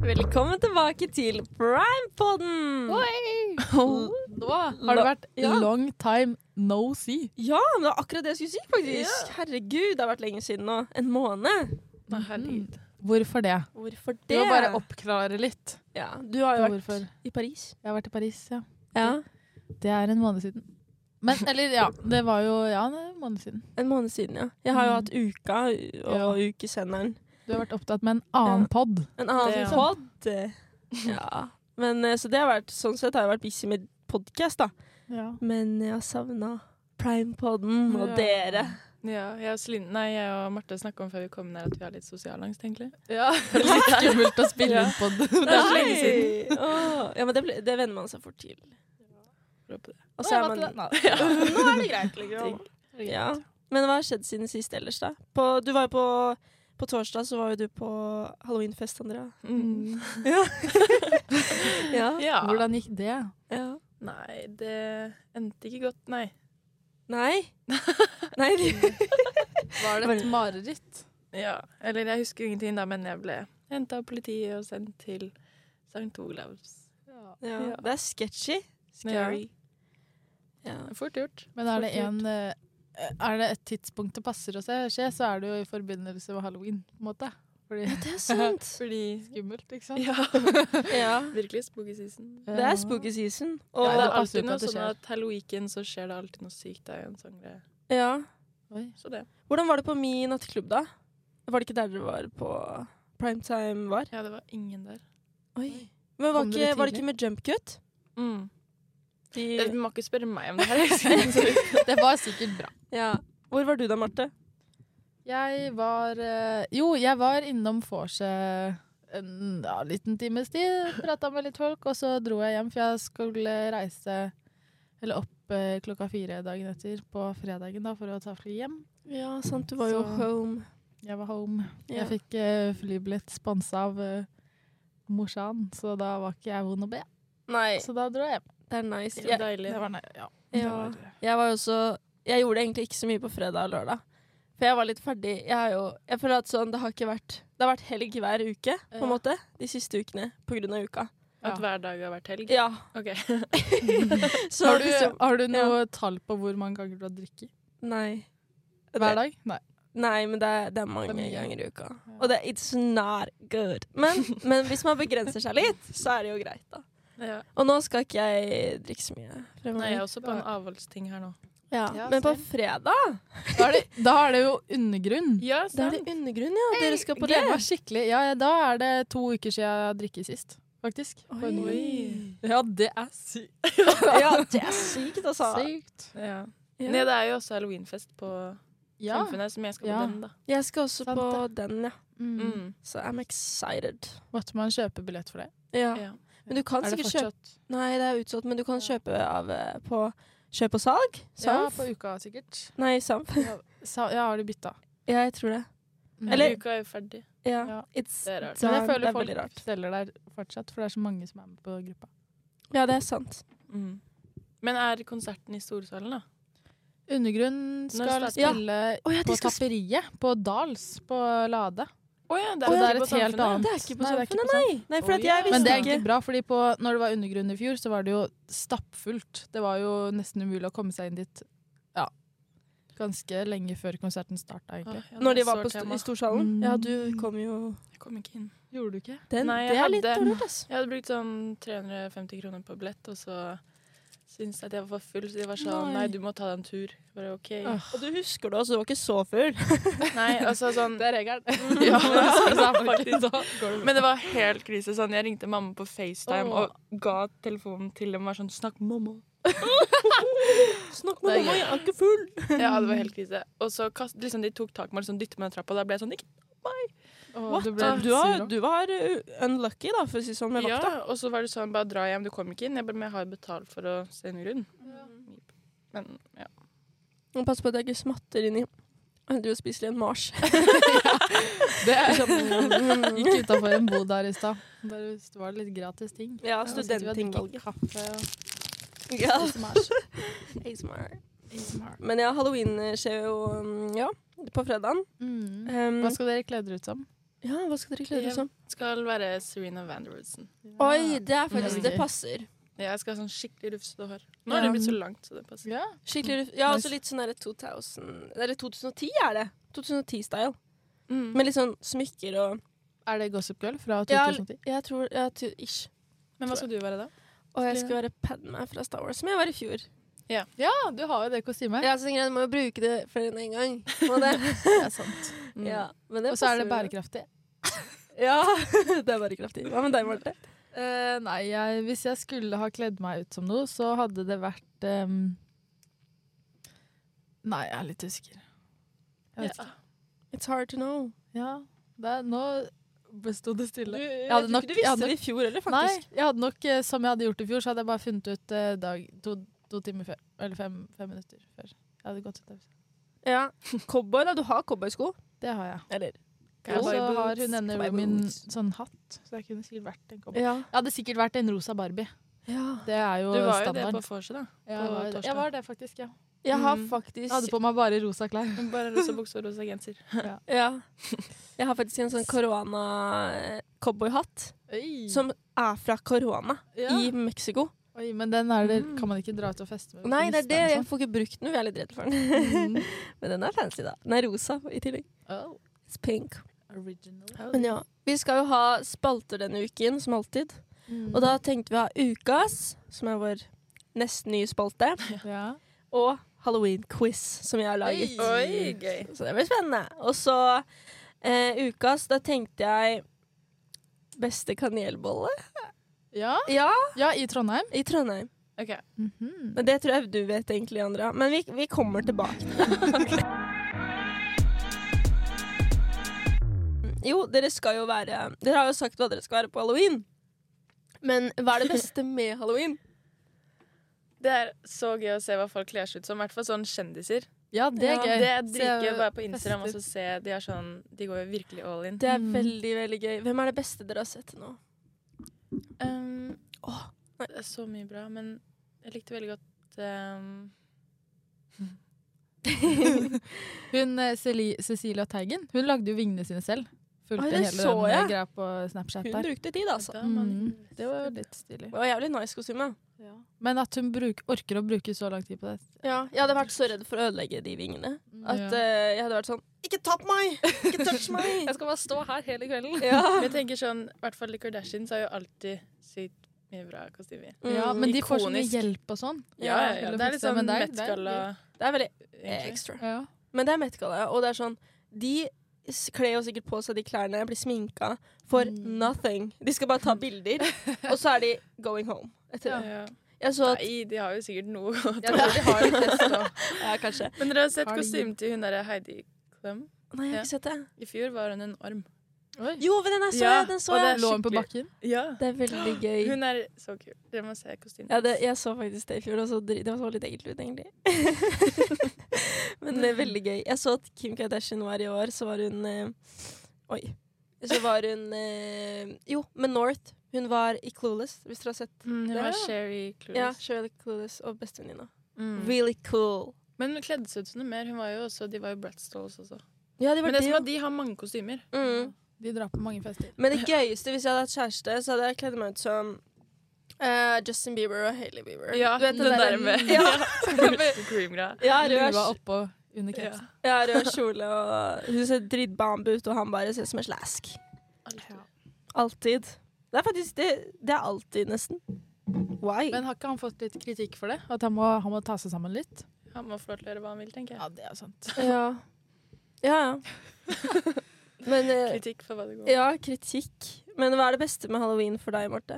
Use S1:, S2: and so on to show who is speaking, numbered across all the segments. S1: Velkommen tilbake til Primepodden! Nå
S2: Har det vært
S1: Ja.
S2: long time no see?
S1: Ja, men det var akkurat det jeg skulle si, faktisk. Herregud, det har vært lenge siden nå. En måned.
S2: herregud. Mhm. Hvorfor det?
S1: Hvorfor det?
S3: Du må bare oppklare litt.
S1: Ja, du har jo vært
S2: Hvorfor?
S1: i Paris.
S2: Jeg har vært i Paris, ja.
S1: Ja,
S2: Det er en måned siden. Men, eller ja, det var jo ja, det er en måned siden.
S1: En måned siden, ja. Jeg
S3: Mm.
S1: har jo hatt uka og ukesenderen.
S2: Du har vært opptatt med en annen
S1: Ja.
S2: pod.
S1: En annen
S3: Det, ja.
S1: podd. Ja. Men, eh, så det har vært, sånn sett har jeg vært busy med podcast, da. Men jeg har savna Primepodden og
S3: Ja.
S1: dere.
S3: Ja, jeg og, Celine, nei, jeg og Marte snakka om før vi kom ned at vi har litt sosialangst, egentlig.
S2: Litt skummelt å spille
S3: Ja.
S2: inn pod.
S3: Det er så lenge
S1: Nei! Åh, ja, men det, ble, det venner man seg fort til. Og så er man
S2: Nei.
S1: Nå er det greit, liksom. Ja. Men hva har skjedd siden sist ellers, da? På, du var jo på på torsdag så var jo du på halloweenfest, Andrea.
S3: Mm.
S1: Ja.
S3: Ja.
S2: Hvordan gikk det?
S3: Nei, det endte ikke godt, nei.
S1: Nei. Nei.
S2: Var
S1: det et
S2: mareritt?
S3: Ja, eller jeg husker ingenting da, men jeg ble henta av politiet og sendt til St. Olavs.
S1: Ja. Det er sketchy. Scary. Ja.
S3: Fort gjort.
S2: Men er det,
S3: Fort
S2: en, eh, er det et tidspunkt det passer å se- skje, så er det jo i forbindelse med halloween. på en måte. Fordi
S1: Det er sant.
S3: Fordi
S2: skummelt, ikke sant?
S3: Ja,
S1: Ja.
S3: virkelig spooky season.
S1: Det er spooky season.
S3: Og
S2: Ja,
S3: det
S2: det
S3: er
S2: passer jo
S3: alltid
S2: på
S3: noe
S2: at det
S3: sånn
S2: skjer.
S3: at Halloween så skjer det alltid noe sykt. Det er jo en sånn greie.
S1: ja.
S2: Eh, Oi.
S3: Så det.
S1: Hvordan var det på Mi nattklubb, da? Var det ikke der dere var på primetime var?
S3: Ja, det var ingen der.
S1: Oi. Men var,
S2: Kom dere
S1: ikke, var det
S2: tidlig?
S1: ikke med jump cut?
S3: Mm.
S1: De,
S3: Du må ikke spørre meg om det her. jeg husker ikke så mye.
S2: Det var sikkert bra.
S1: ja. Hvor var du da, Marte?
S2: Jeg var eh, Jo, jeg var innom Forse en ja, liten times tid. Prata med litt folk, og så dro jeg hjem, for jeg skulle reise Eller opp eh, klokka fire dagen etter på fredagen da, for å ta fly hjem.
S1: Ja, sant. Du
S2: var jo
S1: home.
S2: Jeg var home.
S1: Ja.
S2: Jeg fikk eh, flybillett sponsa av eh, morsan, så da var ikke jeg vond å be.
S1: Nei,
S2: Så da dro jeg hjem.
S1: det er nice.
S3: Så
S1: Jeg,
S3: deilig.
S2: Det var nei, ja.
S1: Ja. jeg var jo så Jeg gjorde egentlig ikke så mye på fredag og lørdag. For jeg var litt ferdig. Jeg, har jo, jeg føler at sånn, det har ikke vært Det har vært helg hver uke, på en
S2: Ja.
S1: måte. De siste ukene. På grunn av uka.
S2: Ja.
S3: At hver dag har vært helg?
S1: Ja.
S3: Ok.
S1: Så
S2: Har, du,
S1: liksom-
S2: har du noe tall på hvor mange ganger du har drukket?
S1: Nei.
S2: Hver dag? Nei.
S1: Nei, men det er, det er mange
S2: Det er mye.
S1: ganger i uka.
S2: Ja.
S1: Og det, it's not good. Men, men hvis man begrenser seg litt, så er det jo greit, da.
S3: Ja.
S1: Og nå skal ikke jeg drikke så mye. fremover.
S3: Nei, jeg er også på en avholdsting her nå.
S1: ja.
S2: Ja,
S1: Men på
S2: same.
S1: fredag,
S2: Da er det, da er det jo undergrunn.
S3: Ja,
S1: da er det undergrunn, ja. Dere skal på det.
S2: Gleder meg skikkelig. Ja, ja, da er det to uker siden jeg drikket sist, faktisk. På en måte.
S3: Oi.
S2: Ja, det er sykt.
S1: ja, det er sykt, altså.
S2: Sykt.
S3: Ja.
S1: Ja.
S3: Nei, det er jo også halloweenfest på
S2: Ja.
S3: Samfunnet, som jeg skal på
S2: Ja.
S3: den, da.
S1: Jeg skal også
S2: Sant
S1: på den, ja.
S2: Mm.
S3: Mm.
S1: Så I'm excited.
S2: Måtte man kjøpe billett for det?
S1: Ja.
S3: Ja.
S1: Men du kan
S2: Er det
S1: sikkert kjøpe
S2: fortsatt
S1: Nei, det er utsolgt, men du kan kjøpe av eh, på kjøp og salg.
S2: Ja,
S1: Samf.
S2: på uka sikkert.
S1: Nei, Samf.
S2: Ja, sa, ja har du bytta?
S1: Ja, jeg tror det.
S2: Mm.
S1: Eller-
S3: Uka er jo ferdig.
S1: Ja.
S2: Ja.
S1: It's
S3: Det er rart.
S2: Men jeg
S1: done.
S2: føler
S1: det er veldig
S2: folk
S1: rart.
S2: selger der fortsatt, for det er så mange som er med på gruppa.
S1: Ja, det er sant.
S3: Mm. Men er konserten i Storsalen, da?
S2: Undergrunn skal
S3: starter-
S2: spille
S1: Å ja,
S2: på
S1: de skal sp-
S2: Tapperiet, på Dals, på Lade.
S3: Å ja, det
S2: Så
S3: er,
S2: det
S3: ikke
S2: er
S3: på
S2: et helt
S3: Samfunnet.
S2: annet.
S1: Det er ikke på
S2: Nei, det er ikke
S1: Samfunnet,
S2: på
S1: nei! Nei, for
S3: Å
S1: at jeg
S3: ja.
S1: visste
S2: Men det er
S1: ikke
S2: ikke bra, fordi på, når det var undergrunn i fjor, så var det jo stappfullt. Det var jo nesten umulig å komme seg inn dit ja, ganske lenge før konserten starta,
S3: Å,
S2: egentlig.
S3: ja,
S1: Når de
S3: det er
S1: var på
S3: sårt
S1: st
S3: tema.
S1: i Storsalen.
S2: Mm.
S1: Ja, du kom jo
S3: Jeg kom ikke inn.
S2: Ah, Gjorde du ikke?
S1: den.
S3: Nei, jeg
S1: det er litt
S3: hadde-
S1: dårlig, ass.
S3: Jeg hadde brukt sånn 350 kroner på billett, og så syntes jeg at jeg var for full, så de var sånn
S2: Nei.
S3: Nei, du må ta deg en tur. Jeg Bare OK.
S1: Og du husker det også, du var ikke så full.
S3: Nei, altså sånn
S2: Det er regelen. ja, faktisk. Da går det bra.
S3: Men det var helt krise. Sånn, jeg ringte mamma på FaceTime
S2: Åh.
S3: og ga telefonen til dem. Var sånn, Snakk med mamma.
S1: Snakk
S2: Det
S1: med mamma,
S2: er gøy.
S1: jeg er ikke full.
S3: Ja, det var helt krise. Og så kast, liksom, de tok tak i meg og liksom, dyttet meg ned trappa. Da ble jeg sånn ikke.
S2: Å,
S1: What?
S2: du ble
S1: du, var,
S2: sur også.
S1: du var uh, unlucky, da, for å si sånn, med vakta.
S3: Ja, og så var det sånn Bare dra hjem, du kom ikke inn. Jeg bare Men jeg har betalt for å se en grunn. Men ja.
S1: Og pass på at jeg ikke smatter inn i Du spiser en mars. Mm.
S2: Det er sånn Gikk utafor en bod der i stad. Der var det litt gratis ting.
S1: Ja,
S2: Og så sitter vi og drikker
S1: studenttingvalget.
S2: Kaffe og
S1: Ja.
S2: smash.
S1: Men mm, ja, halloween skjer jo um, ja, på fredagen.
S2: Mm.
S1: Um,
S2: Hva skal dere kle dere ut som?
S1: Ja, hva skal dere kle dere
S3: Ja.
S1: som?
S3: Skal være Serena Vanderwoodsen.
S1: Oi, det er faktisk
S2: Mm.
S1: Det passer.
S3: Ja, jeg skal ha sånn skikkelig rufsete hår. Nå har det
S2: Ja.
S3: blitt så langt, så det passer.
S2: Ja.
S1: Skikkelig ruf- Ja,
S2: Nice.
S1: også litt sånn derre 2000 Eller 2010 er det. 2010-style.
S3: Mm.
S1: Med litt sånn smykker og
S2: Er det Gossip Girl fra
S1: Ja,
S2: 2010?
S1: Jeg tror ja, tu- Ish.
S3: Men hva skal du være da?
S1: Og jeg skulle være Padma fra Star Wars, som jeg var i fjor.
S2: Ja, du har jo det kostymet.
S1: Ja, så tenker jeg, Du må jo bruke det flere enn én en gang. Må det.
S2: Det er sant.
S3: Mm.
S1: ja, men det
S2: Og så er det
S1: passer jo.
S2: bærekraftig.
S1: Ja, det er bærekraftig. Hva med deg, Marte?
S2: Eh, nei, jeg, hvis jeg skulle ha kledd meg ut som noe, så hadde det vært ehm, Nei, jeg er litt usikker. Jeg vet
S3: Ja.
S2: ikke.
S1: It's hard to know.
S2: Ja, det, er- nå sto
S1: Du,
S2: det stille.
S1: jeg
S2: hadde
S1: tror
S2: nok-
S1: ikke du
S2: jeg
S1: visste
S2: hadde
S1: det i fjor heller,
S2: Nei,
S1: faktisk.
S2: jeg hadde nok, eh, som jeg hadde gjort i fjor, så hadde jeg bare funnet ut eh, dag, to, to timer før. Eller fem, fem minutter før. Jeg hadde gått ut der.
S1: Ja. Cowboy, da. Du har cowboysko.
S2: Det har jeg.
S1: Eller
S2: Og så
S3: Cowboy
S2: har
S1: boots,
S2: hun ene
S1: cowboy
S2: roomien
S1: boots.
S2: sånn hatt, så jeg kunne sikkert vært en cowboy.
S1: Ja.
S2: Jeg hadde sikkert vært en rosa Barbie. Det er jo
S3: Du var jo det
S2: standard.
S3: på vorset, da.
S2: jeg,
S3: på
S2: var det.
S3: torsdag.
S2: jeg var det faktisk, ja.
S1: Jeg har
S2: Jeg hadde
S3: Mm.
S1: faktisk
S2: på meg bare rosa klær.
S3: Bare rosa bukse og rosa genser.
S1: Ja. Jeg har faktisk en sånn korona-cowboyhatt som er fra korona
S2: ja.
S1: i Mexico.
S2: Oi, men den er det,
S3: Mm.
S2: kan man ikke dra ut og feste med.
S1: Nei, det er det. Jeg
S2: Sånn.
S1: får ikke brukt den, for jeg er litt redd for den.
S2: Mm.
S1: Men den er fancy, da. Den er rosa i tillegg.
S2: Oh,
S1: It's pink.
S2: original.
S1: Men ja. Vi skal jo ha spalter denne uken, som alltid.
S2: Mm.
S1: Og da tenkte vi å ha Ukas, som er vår nesten nye spalte,
S2: ja.
S1: og Halloween-quiz, som jeg har laget.
S3: Oi, gøy.
S1: Så det blir spennende. Og så eh, Ukas, da tenkte jeg Beste kanelbolle?
S2: Ja.
S1: Ja,
S2: ja, i Trondheim.
S1: i Trondheim.
S3: Ok.
S2: Mhm.
S1: Men det tror jeg du vet egentlig, Andrea. Men vi, vi kommer tilbake til det. Jo, dere skal jo være Dere har jo sagt hva dere skal være på halloween. Men hva er det beste med halloween?
S3: Det er så gøy å se hva folk kler seg ut som. I hvert fall sånn kjendiser.
S2: Ja, det er
S1: Ja,
S2: gøy.
S3: Det er dritgøy
S2: Se-
S3: å være på Instagram og
S2: fester.
S3: så se de, er sånn, de går jo virkelig all in.
S1: Det er
S2: Mm.
S1: veldig, veldig gøy. Hvem er det beste dere har sett til nå?
S3: Um,
S1: Åh, nei.
S3: det er så mye bra, men jeg likte veldig godt um,
S2: Hun eh, Celi- Cecilia Teigen, hun lagde jo vingene sine selv. Fulgte
S1: Oi, det
S2: hele
S1: så
S2: den eh,
S1: jeg.
S2: greia på Snapchat
S1: Hun
S2: der.
S1: brukte tid, altså.
S3: da man-
S2: Mm. Det var jo litt stilig.
S1: Det var jævlig nice kostyme.
S2: Men at hun bruk, orker å bruke så lang tid på det.
S1: Ja, jeg hadde vært så redd for å ødelegge de vingene. At
S2: Ja.
S1: eh, jeg hadde vært sånn Ikke tapp meg! Ikke touch meg!
S2: Jeg skal bare stå her hele kvelden.
S1: ja.
S3: Men Jeg tenker sånn, i hvert fall The Kardashians har jo alltid sykt mye bra kostymer.
S2: Ja,
S1: Mm.
S2: men de får sånn
S3: ikonisk.
S2: hjelp og sånn.
S3: Ja, ja, ja. Det er litt sånn
S2: Men det er-
S3: Met-galla,
S1: Det er veldig
S3: egentlig.
S1: extra.
S2: Ja.
S1: Men det er Met-galla, og det er sånn De s- kler jo sikkert på seg de klærne, blir sminka for
S2: Mm.
S1: nothing. De skal bare ta bilder, og så er de going home etter det.
S3: Ja.
S1: Jeg så at
S3: Nei, de har jo sikkert noe å
S2: Jeg tror de har litt hest også.
S1: Ja, kanskje.
S3: Men dere har sett
S2: Har de-
S3: kostymet til hun derre Heidi Klum.
S1: Nei, jeg har
S3: Ja.
S1: ikke sett det.
S3: I fjor var hun en orm.
S2: Oi.
S1: Jo, men den er så
S3: Ja,
S1: jeg! Den så
S3: og
S1: jeg.
S3: det-
S2: Lå hun på
S3: skikkelig.
S2: bakken?
S3: Ja.
S1: Det er veldig gøy.
S3: Hun er så kul. Dere må se kostymet.
S1: Ja, det, jeg så faktisk det i fjor, og så dri- det så litt ekkelt ut, egentlig. Men det er veldig gøy. Jeg så at Kim Kardashian var i år, så var hun eh, Oi. Så var hun eh, Jo, med North. Hun var i Clueless, hvis dere har sett.
S3: Mm, hun
S1: Ja.
S3: var Sherry
S1: Ja,
S3: Clueless.
S1: Shirley Clueless og bestevenninna.
S3: Mm.
S1: Really cool.
S3: Men hun kledde seg ut som noe mer. Hun var jo også, de var jo Bratstalls også.
S1: Ja, de var
S3: Men det
S1: det,
S3: som
S1: jo.
S3: er, de har mange kostymer.
S1: Mm.
S2: De drar på mange fester.
S1: Men det gøyeste, hvis jeg hadde hatt kjæreste, så hadde jeg kledd meg ut som eh, Justin Bieber og Hailey Bieber.
S3: Ja,
S1: Du vet
S3: den der med
S1: Ja,
S3: Cream-greia.
S1: ja rød
S2: Lua oppå under
S3: Ja.
S2: kapsen.
S1: Ja, rød kjole og Hun ser dritbambu ut, og han bare ser ut som en slask.
S3: Alltid.
S1: Alltid. Det er faktisk det, det er alltid, nesten. Why?
S2: Men har ikke han fått litt kritikk for det? At han må, han må ta seg sammen litt?
S3: Han må få lov til å gjøre hva han vil, tenker jeg.
S2: Ja, det er sant.
S1: ja. Ja, ja. Men eh,
S3: Kritikk for hva det går.
S1: Ja, kritikk. Men hva er det beste med halloween for deg, Marte?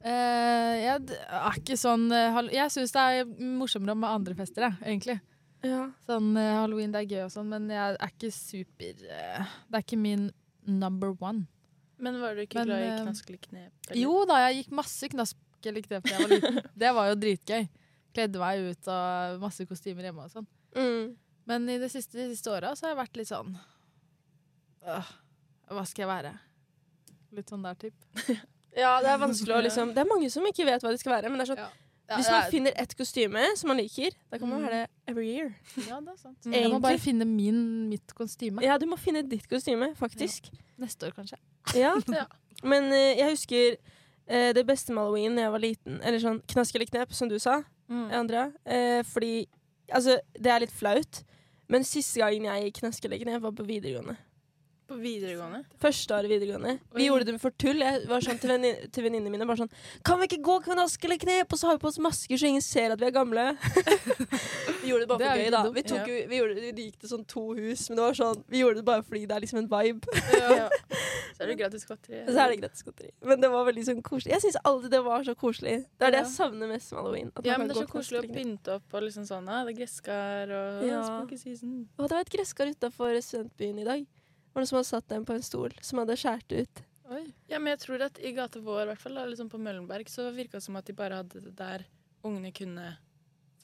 S2: Eh, jeg d- er ikke sånn eh, hall- Jeg syns det er morsommere med andre fester, jeg, egentlig.
S1: Ja.
S2: Sånn eh, halloween, det er gøy og sånn, men jeg er ikke super eh, Det er ikke min number one.
S3: Men var du ikke
S2: Men,
S3: glad i
S2: eh,
S3: knask eller knep? eller?
S2: Jo da, jeg gikk masse knask eller knep da jeg var liten. Det var jo dritgøy. Kledde meg ut av masse kostymer hjemme og sånn.
S1: Mm.
S2: Men i det siste, de siste åra så har jeg vært litt sånn «Åh, Hva skal jeg være? Litt sånn der typ.
S1: Ja, det er vanskelig å liksom Det er mange som ikke vet hva de skal være, men det er sånn
S2: Ja. Ja,
S1: Hvis
S2: det
S1: man
S2: er-
S1: finner ett kostyme som man liker, da kan man
S2: Mm.
S1: ha det every year.
S2: Ja, det er sant.
S3: Mm.
S2: Jeg må
S1: Egentlig.
S2: bare finne min, mitt kostyme.
S1: Ja, du må finne ditt kostyme, faktisk.
S2: Neste år, kanskje.
S1: Ja.
S3: Ja.
S1: Men eh, jeg husker eh, det beste med halloween da jeg var liten, eller sånn knask eller knep, som du sa,
S3: Mm.
S1: Andrea. Eh, fordi Altså, det er litt flaut, men siste gangen jeg gikk knask eller knep, var på videregående.
S3: På videregående?
S1: Første året videregående. Vi
S3: Oi.
S1: gjorde det for tull. Jeg var sånn til, venni- til venninnene mine bare sånn Kan vi ikke gå knask eller knep, og så har vi på oss masker så ingen ser at vi er gamle? vi gjorde det bare
S2: Det er
S1: for gøy,
S2: jo ikke
S1: da.
S2: dumt,
S1: Vi, tok, jo- vi, gjorde, vi gikk til sånn to hus, men det var sånn Vi gjorde det bare fordi det er liksom en vibe.
S3: Ja. Så er det gratis godteri.
S1: Og så er det gratis godteri. Men det var veldig sånn koselig. Jeg syns alltid det var så koselig. Det er det jeg savner mest med halloween. at
S3: Ja,
S1: man
S3: men
S1: kan gå
S3: det er så
S1: knask
S3: koselig å
S1: eller knep.
S3: pynte opp og liksom sånn. Ja, det er gresskar og
S1: Ja.
S3: ja. spooky season.
S1: Og det var et gresskar utafor studentbyen i dag. Det var noen som hadde satt dem på en stol, som hadde skåret ut.
S2: Oi.
S3: Ja, men jeg tror at i gata vår, i hvert fall, da, liksom på Møllenberg, så virka det som at de bare hadde det der ungene kunne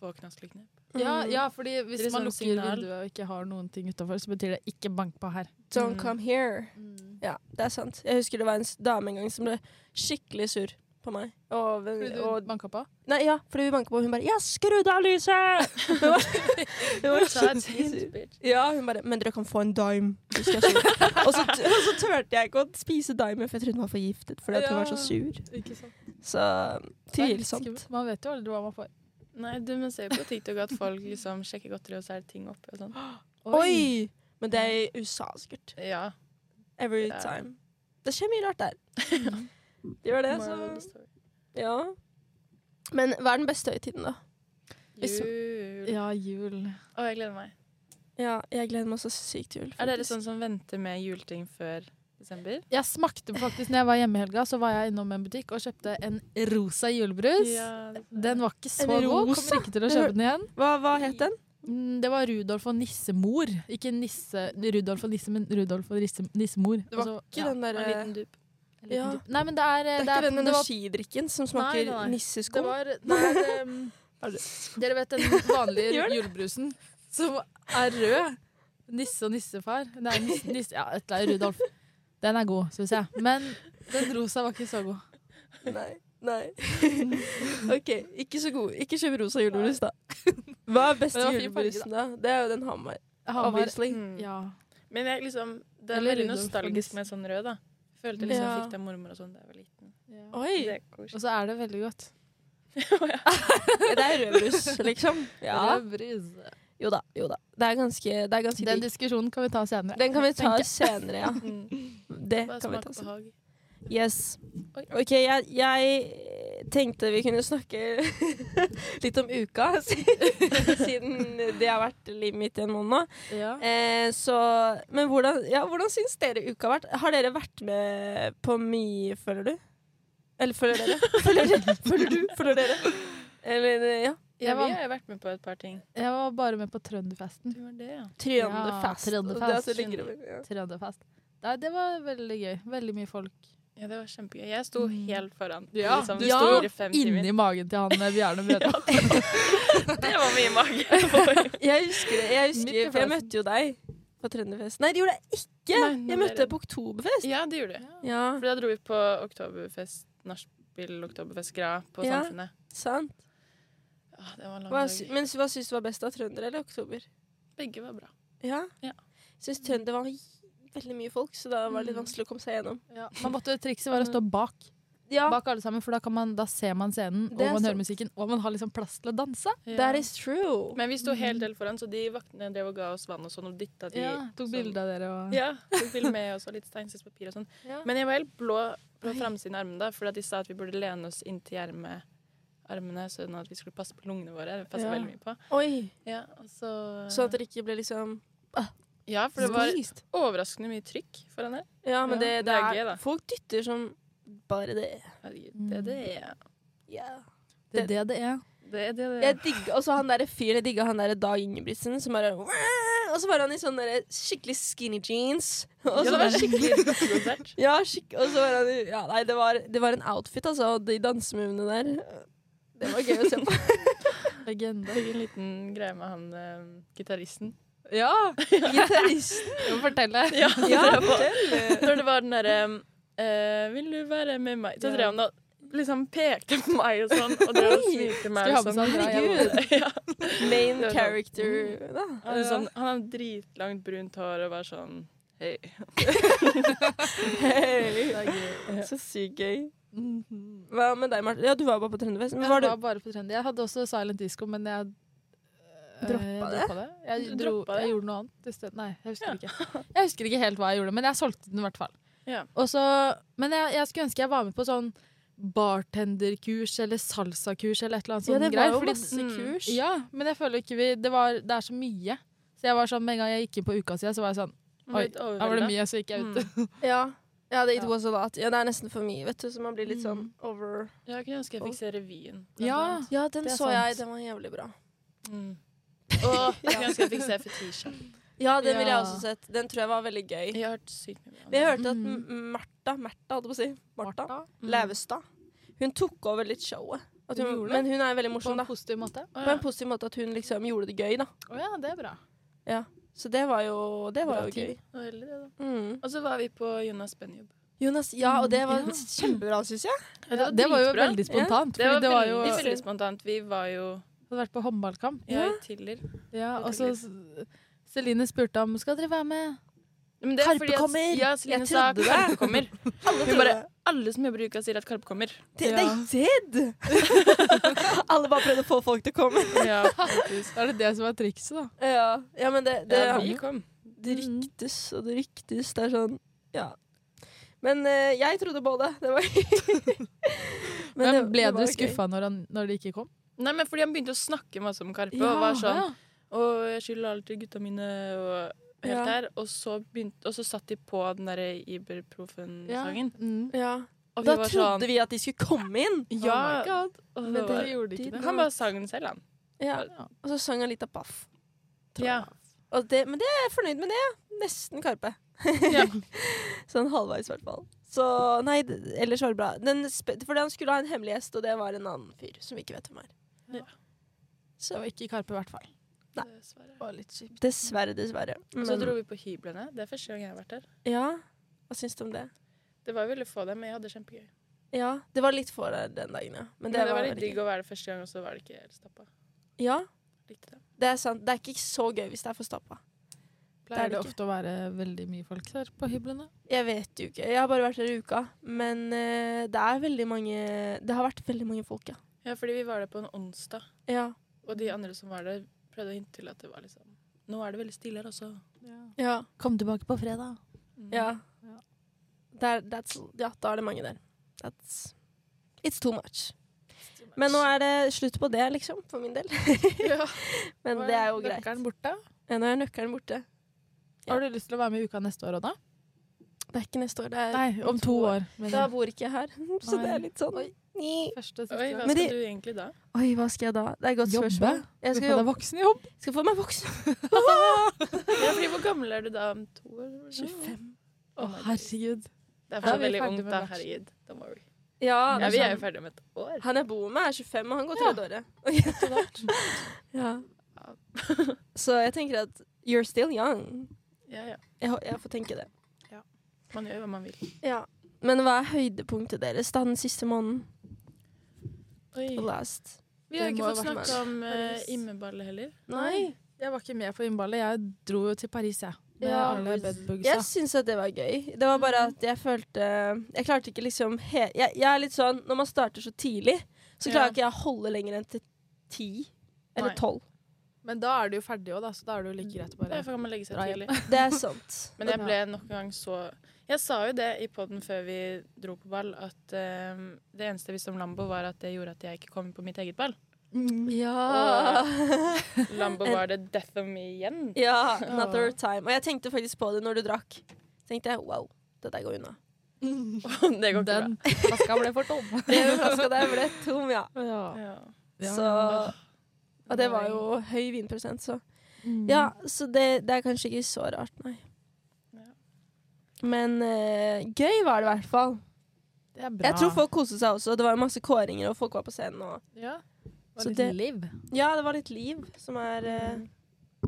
S3: få knaskliknep.
S2: Ja,
S1: Mm.
S2: ja, fordi hvis
S3: Det er
S2: man
S3: sånn
S2: lukker
S3: signal.
S2: vinduet og ikke har noen ting utafor, så betyr det 'ikke bank på her'.
S1: Don't
S3: Mm.
S1: come here.
S2: Mm.
S1: Ja, det er sant. Jeg husker det var en s- dame en gang som ble skikkelig sur på meg. Og,
S2: Fordi du
S1: og,
S2: banka på?
S1: nei, ja, fordi vi banket på, og hun bare 'Ja, skrudd av lyset!' Hun var, hun var
S3: Så er
S1: skikkelig
S3: det
S1: sur.
S3: fint, bitch.
S1: Ja, hun bare 'Men dere kan få en dime'. hvis dere er sur.» og så, t- og så turte jeg ikke å spise dimen, for jeg trodde hun var forgiftet fordi at hun var så
S3: Ja.
S1: sur.
S3: Ikke sant?
S1: Så tvilsomt.
S2: Man vet jo aldri hva man får.
S3: Nei, du, men ser jo på TikTok at folk liksom sjekker godteri, og så er det ting oppi og sånn.
S1: Oi! Men det er i USA, sikkert.
S3: Ja.
S1: Every
S3: Ja.
S1: time. Det skjer mye rart der. Det gjør det,
S3: Moral of the
S1: så
S3: story.
S1: Ja. Men hva er den beste høytiden, da? Hvis-
S3: Jul.
S2: Ja, jul.
S3: Å, jeg gleder meg.
S1: Ja, jeg gleder meg så sykt til jul.
S3: Er dere
S1: faktisk.
S3: sånn som venter med juleting før desember?
S2: Jeg smakte faktisk når jeg var hjemme i helga, så var jeg innom en butikk og kjøpte en rosa julebrus.
S3: det- sånn.
S2: Den var ikke så
S1: En
S2: god.
S1: rosa?
S2: Kommer ikke til å kjøpe den igjen.
S1: Hva, hva het den?
S2: Mm, Det var Rudolf og nissemor. Ikke nisse, Rudolf og nisse, men Rudolf og nisse, nissemor.
S1: Det var
S2: Altså,
S1: ikke
S2: ja,
S1: den
S3: en
S1: derre
S3: liten dupp.
S2: en liten
S1: ja.
S2: dupp. Nei, men det er eh,
S1: Eh, Det er
S2: det
S1: ikke
S2: er-
S1: den
S2: det var-
S1: energidrikken som smaker
S2: Nei, nei, nei.
S1: nissesko?
S2: Det var det er, um,
S1: Er det-
S2: Dere vet den vanlige
S1: Gjør det.
S2: julebrusen som er rød. Nisse og nissefar. Nei, nisse, nisse, ja, et eller annet. Rudolf. Den er god, syns jeg. Men den rosa var ikke så god.
S1: Nei. Nei. OK, ikke så god. Ikke kjøp rosa julebrus, da. Hva er beste
S2: Men det var fin farge,
S1: julebrusen, da? Det er jo den Hamar.
S2: Hamar.
S1: Obviously.
S3: Mm.
S2: Ja.
S3: Men jeg liksom, det er
S2: Eller
S3: veldig
S2: Rudolf og
S3: nostalgisk
S2: nissen.
S3: med sånn rød, da. Følte liksom
S1: Ja.
S3: jeg fikk det av mormor og sånn da jeg var liten.
S1: Oi!
S3: Det er
S2: Og
S3: koselig.
S2: så er det veldig godt.
S1: Det er rødbrus, liksom. Ja.
S2: Rødbrus.
S1: Jo da. Jo da. Det er ganske, det er ganske
S2: Den
S1: digg.
S2: diskusjonen kan vi ta senere.
S1: Den kan vi ta senere, ja.
S3: Mm.
S1: Det
S3: Bare
S1: kan vi
S3: smak
S1: ta
S3: og
S1: senere.
S3: behag.
S1: Yes.
S3: Oi.
S1: OK, jeg, jeg tenkte vi kunne snakke litt om uka, siden det har vært livet mitt i en måned nå.
S2: Ja.
S1: Eh, så, men hvordan, ja, hvordan syns dere uka har vært? Har dere vært med på mye, føler du? Eller føler dere? Føler, dere? føler du? Føler dere? Eller, ja.
S3: Ja,
S2: Jeg
S3: vi
S2: var,
S3: har jo vært med på et par ting.
S2: jeg var bare med på Trønderfesten.
S3: Du var det, ja.
S1: Trøndefest.
S2: Ja,
S1: Og det at det
S2: trønderfest.
S1: ligger over- ja.
S2: Trønderfest. Nei, det var veldig gøy. Veldig mye folk.
S3: Ja, det var kjempegøy. Jeg sto
S2: Mm.
S3: helt foran.
S2: Ja,
S3: liksom,
S2: du
S3: fire,
S2: sto
S3: fem timer.
S2: Inni magen til han eh, Bjarne Brødre.
S3: Det var mye mage.
S1: Jeg husker det, jeg
S2: Midt i
S1: husker, for jeg
S2: fleisen.
S1: møtte jo deg på Trønderfest. Nei, det gjorde jeg ikke!
S3: Nei, nå
S1: jeg
S3: ble
S1: møtte
S3: det-
S1: deg på Oktoberfest.
S3: ja, det gjorde jeg.
S1: Ja,
S3: For da dro vi på Oktoberfest, nachspiel, Oktoberfest Gra på
S1: Ja.
S3: Samfunnet.
S1: sant.
S3: Åh, det var en lang
S1: Hva,
S3: dag.
S1: sy- men hva syns du var best av Trønder eller Oktober?
S3: Begge var bra.
S1: Ja.
S3: Ja.
S1: Syns Trønder var veldig mye folk, så da var det
S3: Mm.
S1: litt vanskelig å komme seg gjennom.
S2: Ja, man måtte Trikset var å stå bak.
S1: Ja,
S2: Bak alle sammen, for da, kan man, da ser man scenen, og
S1: Det er
S2: man hører
S1: sant.
S2: musikken, og man har liksom plass til å danse.
S1: that is true.
S3: Men vi sto helt del foran, så de vaktene drev og ga oss vann og sånn, og dytta de
S2: Ja, tok
S3: sånn-
S2: bilde av dere og
S3: Ja, tok bilde med oss og litt steinsesspapir og sånn.
S1: Ja.
S3: Men jeg var helt blå på framsiden av armene da, fordi at de sa at vi burde lene oss inntil arme- armene, sånn at vi skulle passe på lungene våre. Det passer
S2: Ja.
S3: veldig mye på.
S1: Oi.
S3: Ja, og så...
S1: Sånn at dere ikke ble liksom
S3: Ja, for det var
S1: skvist.
S3: overraskende mye trykk foran her.
S1: Ja, men
S2: Ja.
S1: det, det
S3: Det er
S1: er
S3: gøy, da.
S1: Folk dytter som bare det.
S3: Herregud, det er det.
S1: Yeah.
S2: Det er det det er.
S3: Det er det. det.
S1: Jeg digger også han derre fyren. Jeg digga han derre Dag Ingebrigtsen som bare Og så var han i sånne derre skikkelig skinny jeans. Og så
S3: Ja,
S1: var
S3: det er skikkelig konsert.
S1: Ja, skikk, og så var han i- ja, Nei, det var, det var en outfit, altså. Og de dansemovene der. Det var gøy å se på.
S2: Legende.
S3: Fikk en liten greie med han eh, gitaristen.
S2: Ja!
S1: Gitaristen.
S2: Jeg må fortelle.
S3: Ja,
S1: Ja,
S3: det var-
S1: fortell.
S3: Når det var den derre eh, Vil du være med meg? Så drev han og liksom pekte på meg og sånn, og det å
S1: Oi!
S3: smite
S2: Skulle
S3: meg
S2: ha
S3: og
S2: med
S3: sånn.
S2: sånn,
S1: ja,
S3: ja.
S1: Main
S3: Det var sånn,
S1: character, da.
S3: Han er sånn, han har dritlangt brunt hår og bare sånn Hei.
S1: Hei.
S2: Det er gøy.
S1: Så sykt gøy.
S2: Mhm.
S1: Hva med deg, Marte? Ja, du var bare på Trønderfest. Men
S2: Jeg
S1: var
S2: var
S1: du
S2: bare på trendy. Jeg hadde også silent disco, men jeg øh,
S1: Droppa
S2: jeg
S1: det?
S2: det. Jeg,
S3: Du
S2: dro,
S3: droppa det?
S2: jeg gjorde noe annet i stedet. Nei, jeg husker ikke. Jeg husker ikke helt hva jeg gjorde, men jeg solgte den i hvert fall.
S3: Ja.
S2: Og så, men jeg, jeg skulle ønske jeg var med på sånn bartenderkurs eller salsakurs eller et eller annet sånt. greier, fordi-
S3: Mm.
S2: Ja, men jeg føler ikke vi Det, var, det er så mye. Så jeg var sånn, Med en gang jeg gikk inn på uka siden, så var jeg sånn
S3: Han var
S2: Oi,
S3: litt
S2: Da var det
S3: overveldet.
S2: mye, så gikk jeg ut.
S1: Ja. ja, det
S2: Ja.
S1: was a lot. Ja, det er nesten for mye, vet du. Så man blir litt sånn over
S3: Jeg kunne ønske jeg fikk se revyen. blant
S2: Ja.
S3: annet.
S1: Ja, den
S2: Det er
S1: så jeg.
S2: sant.
S1: Den var jævlig bra.
S3: Mm. Og jeg kunne ønske jeg fikk se Fetisha.
S1: Ja, den ville jeg
S2: Ja.
S1: også sett. Den tror jeg var veldig gøy.
S3: Jeg har hørt sykt mye om
S1: Men
S3: det.
S1: jeg hørte at
S2: Mhm.
S1: M- Martha, Martha holdt jeg på å si, Martha
S3: Mm.
S1: Lævestad, hun tok over litt showet. At
S2: Hun
S1: hun,
S2: gjorde det?
S1: men hun er veldig
S2: På
S1: morsom,
S2: en
S1: da.
S2: positiv måte.
S3: Å,
S1: På
S3: ja.
S1: en positiv måte at hun liksom gjorde det gøy, da.
S2: Å ja, det er bra.
S1: Så det var jo, det var
S2: Bra
S1: jo
S2: team.
S1: gøy.
S3: Det var heldig, det, da.
S1: Mm.
S3: Og så var vi på Jonas Benjob.
S1: Jonas, ja, og det var
S2: Ja.
S1: kjempebra, syns jeg.
S3: Ja,
S2: det, var jo
S3: dritbra.
S2: veldig spontant.
S3: Det var,
S2: fordi det var jo
S3: veldig, veldig spontant. Vi var jo
S2: hadde vært på håndballkamp.
S3: ja, i Tiller.
S2: Ja,
S3: Det var
S2: og så Celine spurte om Skal dere være med.
S3: Men det er
S1: Karpe
S3: fordi at-
S1: kommer!
S3: Ja, Celine
S1: Jeg
S3: sa
S1: trodde det.
S3: Karpe kommer.
S1: Alle
S3: Hun
S1: trodde
S3: bare
S1: det.
S3: Alle som jobber i uka, sier at Karpe kommer.
S1: Det,
S2: Ja.
S1: det er dead! Alle bare prøvde å få folk til å komme.
S3: Ja, faktisk.
S2: Da er det det som er trikset, da.
S1: Ja, ja men det, det,
S3: Ja, vi kom.
S1: det ryktes og det ryktes. Det er sånn Ja. Men eh, jeg trodde på det. Det var
S2: Men,
S1: det-
S2: ble
S1: det var
S2: dere
S1: gøy.
S2: skuffa når, han- når det ikke kom?
S3: Nei, men fordi han begynte å snakke masse om Karpe og var sånn
S2: ja.
S3: Å, jeg skylder alt til gutta mine og helt
S1: Ja.
S3: der. Og så, begynte, og så satt de på den derre Iberprofen-sangen.
S2: Mm.
S1: Ja.
S3: Og sånn,
S1: Da trodde vi at de skulle komme inn.
S3: Ja.
S2: Oh my God.
S3: og
S2: Men
S3: det
S2: dere
S3: var,
S2: gjorde ikke det.
S3: han bare sang den selv, han.
S1: Ja.
S2: Ja.
S1: Og så sang han litt av Paff. tror
S3: Ja.
S1: Og det, men det er jeg fornøyd med det. ja. Nesten Karpe.
S3: Ja.
S1: sånn halvveis, i hvert fall. Så nei, det- ellers var det bra. Den, spe- fordi han skulle ha en hemmelig gjest, og det var en annen fyr som vi ikke vet hvem er.
S3: Ja.
S2: Det var
S1: Så
S2: ikke Karpe, i hvert fall.
S1: Nei.
S3: Dessverre.
S2: Det var litt kjipt.
S1: dessverre, dessverre.
S3: Og så
S1: Men-
S3: dro vi på hyblene. Det er første gang jeg har vært der.
S1: Ja, hva syns du om det?
S3: Det var veldig få der, men jeg hadde det kjempegøy.
S1: Ja, det var litt for deg den dagen, ja. Men
S3: Men
S1: det,
S3: det, var
S1: var
S3: litt
S1: veldig
S3: digg å være der første gang, og så var det ikke helt stappa.
S1: gøy. Ja,
S3: Likte det.
S1: det er sant. Det er ikke så gøy hvis det er for stappa.
S2: Pleier
S1: det
S2: det,
S1: ikke.
S2: ofte å være veldig mye folk her på hyblene?
S1: Jeg vet jo ikke. Jeg har bare vært der i uka. Men eh, det er veldig mange Det har vært veldig mange folk, ja.
S3: Ja, fordi vi var der på en onsdag,
S1: Ja,
S3: og de andre som var der, prøvde å hinte til at det var liksom Nå er det veldig stille her også.
S1: ja.
S2: Kom tilbake på fredag.
S3: Mm.
S1: ja.
S2: Ja.
S1: Der, that's, ja da er det mange der. That's, it's too much. Men nå er det slutt på det, liksom. For min del.
S3: ja.
S1: Men det er jo greit.
S2: Nøkkelen borte.
S1: Ja, Nå er nøkkelen borte. Ja.
S2: Har du lyst til å være med i uka neste år òg, da?
S1: Det er ikke neste Eh, år. Det er
S2: Nei, om to år. Men
S1: Da bor ikke jeg her, så det
S2: Nei.
S1: er litt sånn
S2: Oi.
S1: Ni.
S2: første og
S3: Oi,
S2: siste
S3: hva
S2: gang.
S1: Men
S3: skal
S1: de-
S3: du egentlig da?
S1: Oi, hva skal jeg da? Det er et godt
S2: Jobbe?
S1: spørsmål. Jeg skal,
S2: Du får deg
S1: jobbe.
S2: voksenjobb.
S1: skal få meg voksen.
S3: Ja, fordi hvor gammel er du da? Om to år?
S1: 25.
S2: Å,
S3: my God.
S2: herregud.
S3: Det
S2: Da
S3: er
S2: er
S3: fortsatt
S2: vi
S3: veldig
S2: ferdig
S3: ungt,
S2: med
S3: da.
S2: bachelor.
S3: Herregud. Don't worry.
S1: Ja,
S3: Ja,
S1: det
S3: vi er
S1: er
S3: jo
S1: sånn.
S3: ferdig om et år.
S1: Han jeg bor med, er 25, og han går
S2: Ja.
S1: tredje
S2: Etter hvert.
S1: året. Så jeg tenker at you're still young.
S3: Ja, ja.
S1: Jeg, hå- jeg får tenke det.
S3: Man gjør hva man vil.
S1: Ja. Men hva er høydepunktet deres da den siste måneden?
S3: Oi.
S1: Last.
S3: Vi har
S2: Det
S3: ikke
S2: må
S3: fått
S2: ha vært
S3: snakka om uh,
S1: Paris.
S3: immeballe heller.
S1: Nei.
S2: Jeg var ikke med på innballet. Jeg dro jo til Paris, jeg. Med
S1: Ja.
S2: alle bedbugsa.
S1: Jeg syns at det var gøy. Det var bare at jeg følte Jeg klarte ikke liksom he jeg, jeg er litt sånn Når man starter så tidlig, så klarer
S3: Ja.
S1: ikke jeg å holde lenger enn til ti eller
S3: Nei.
S1: tolv.
S2: Men da er du jo ferdig òg, da, så da er det jo like greit å bare
S3: Derfor kan man legge seg
S2: Dra hjem.
S3: tidlig.
S1: Det er sant.
S3: Men jeg ble nok en gang så Jeg sa jo det i poden før vi dro på ball, at eh, det eneste jeg visste om Lambo, var at det gjorde at jeg ikke kom på mitt eget ball.
S2: Mm,
S1: Ja.
S3: Lambo var the death of me igjen.
S1: ja, another time. Og jeg tenkte faktisk på det når du drakk. Tenkte jeg, wow, det der går unna.
S3: det går ikke
S2: Den flaska ble for tom.
S1: Den flaska der ble tom, ja.
S2: ja.
S3: bra. Ja.
S2: Ja.
S1: Så, og det var jo høy vinprosent, så
S2: Mm.
S1: Ja, så det, det er kanskje ikke så rart, nei.
S3: Ja.
S1: Men eh, gøy var det i hvert fall.
S2: Det er bra.
S1: Jeg tror folk koste seg også. Det var jo masse kåringer, og folk var på scenen. Og
S2: ja.
S1: Så
S2: Så
S1: det-
S2: liv.
S1: ja, det var litt liv, som er eh,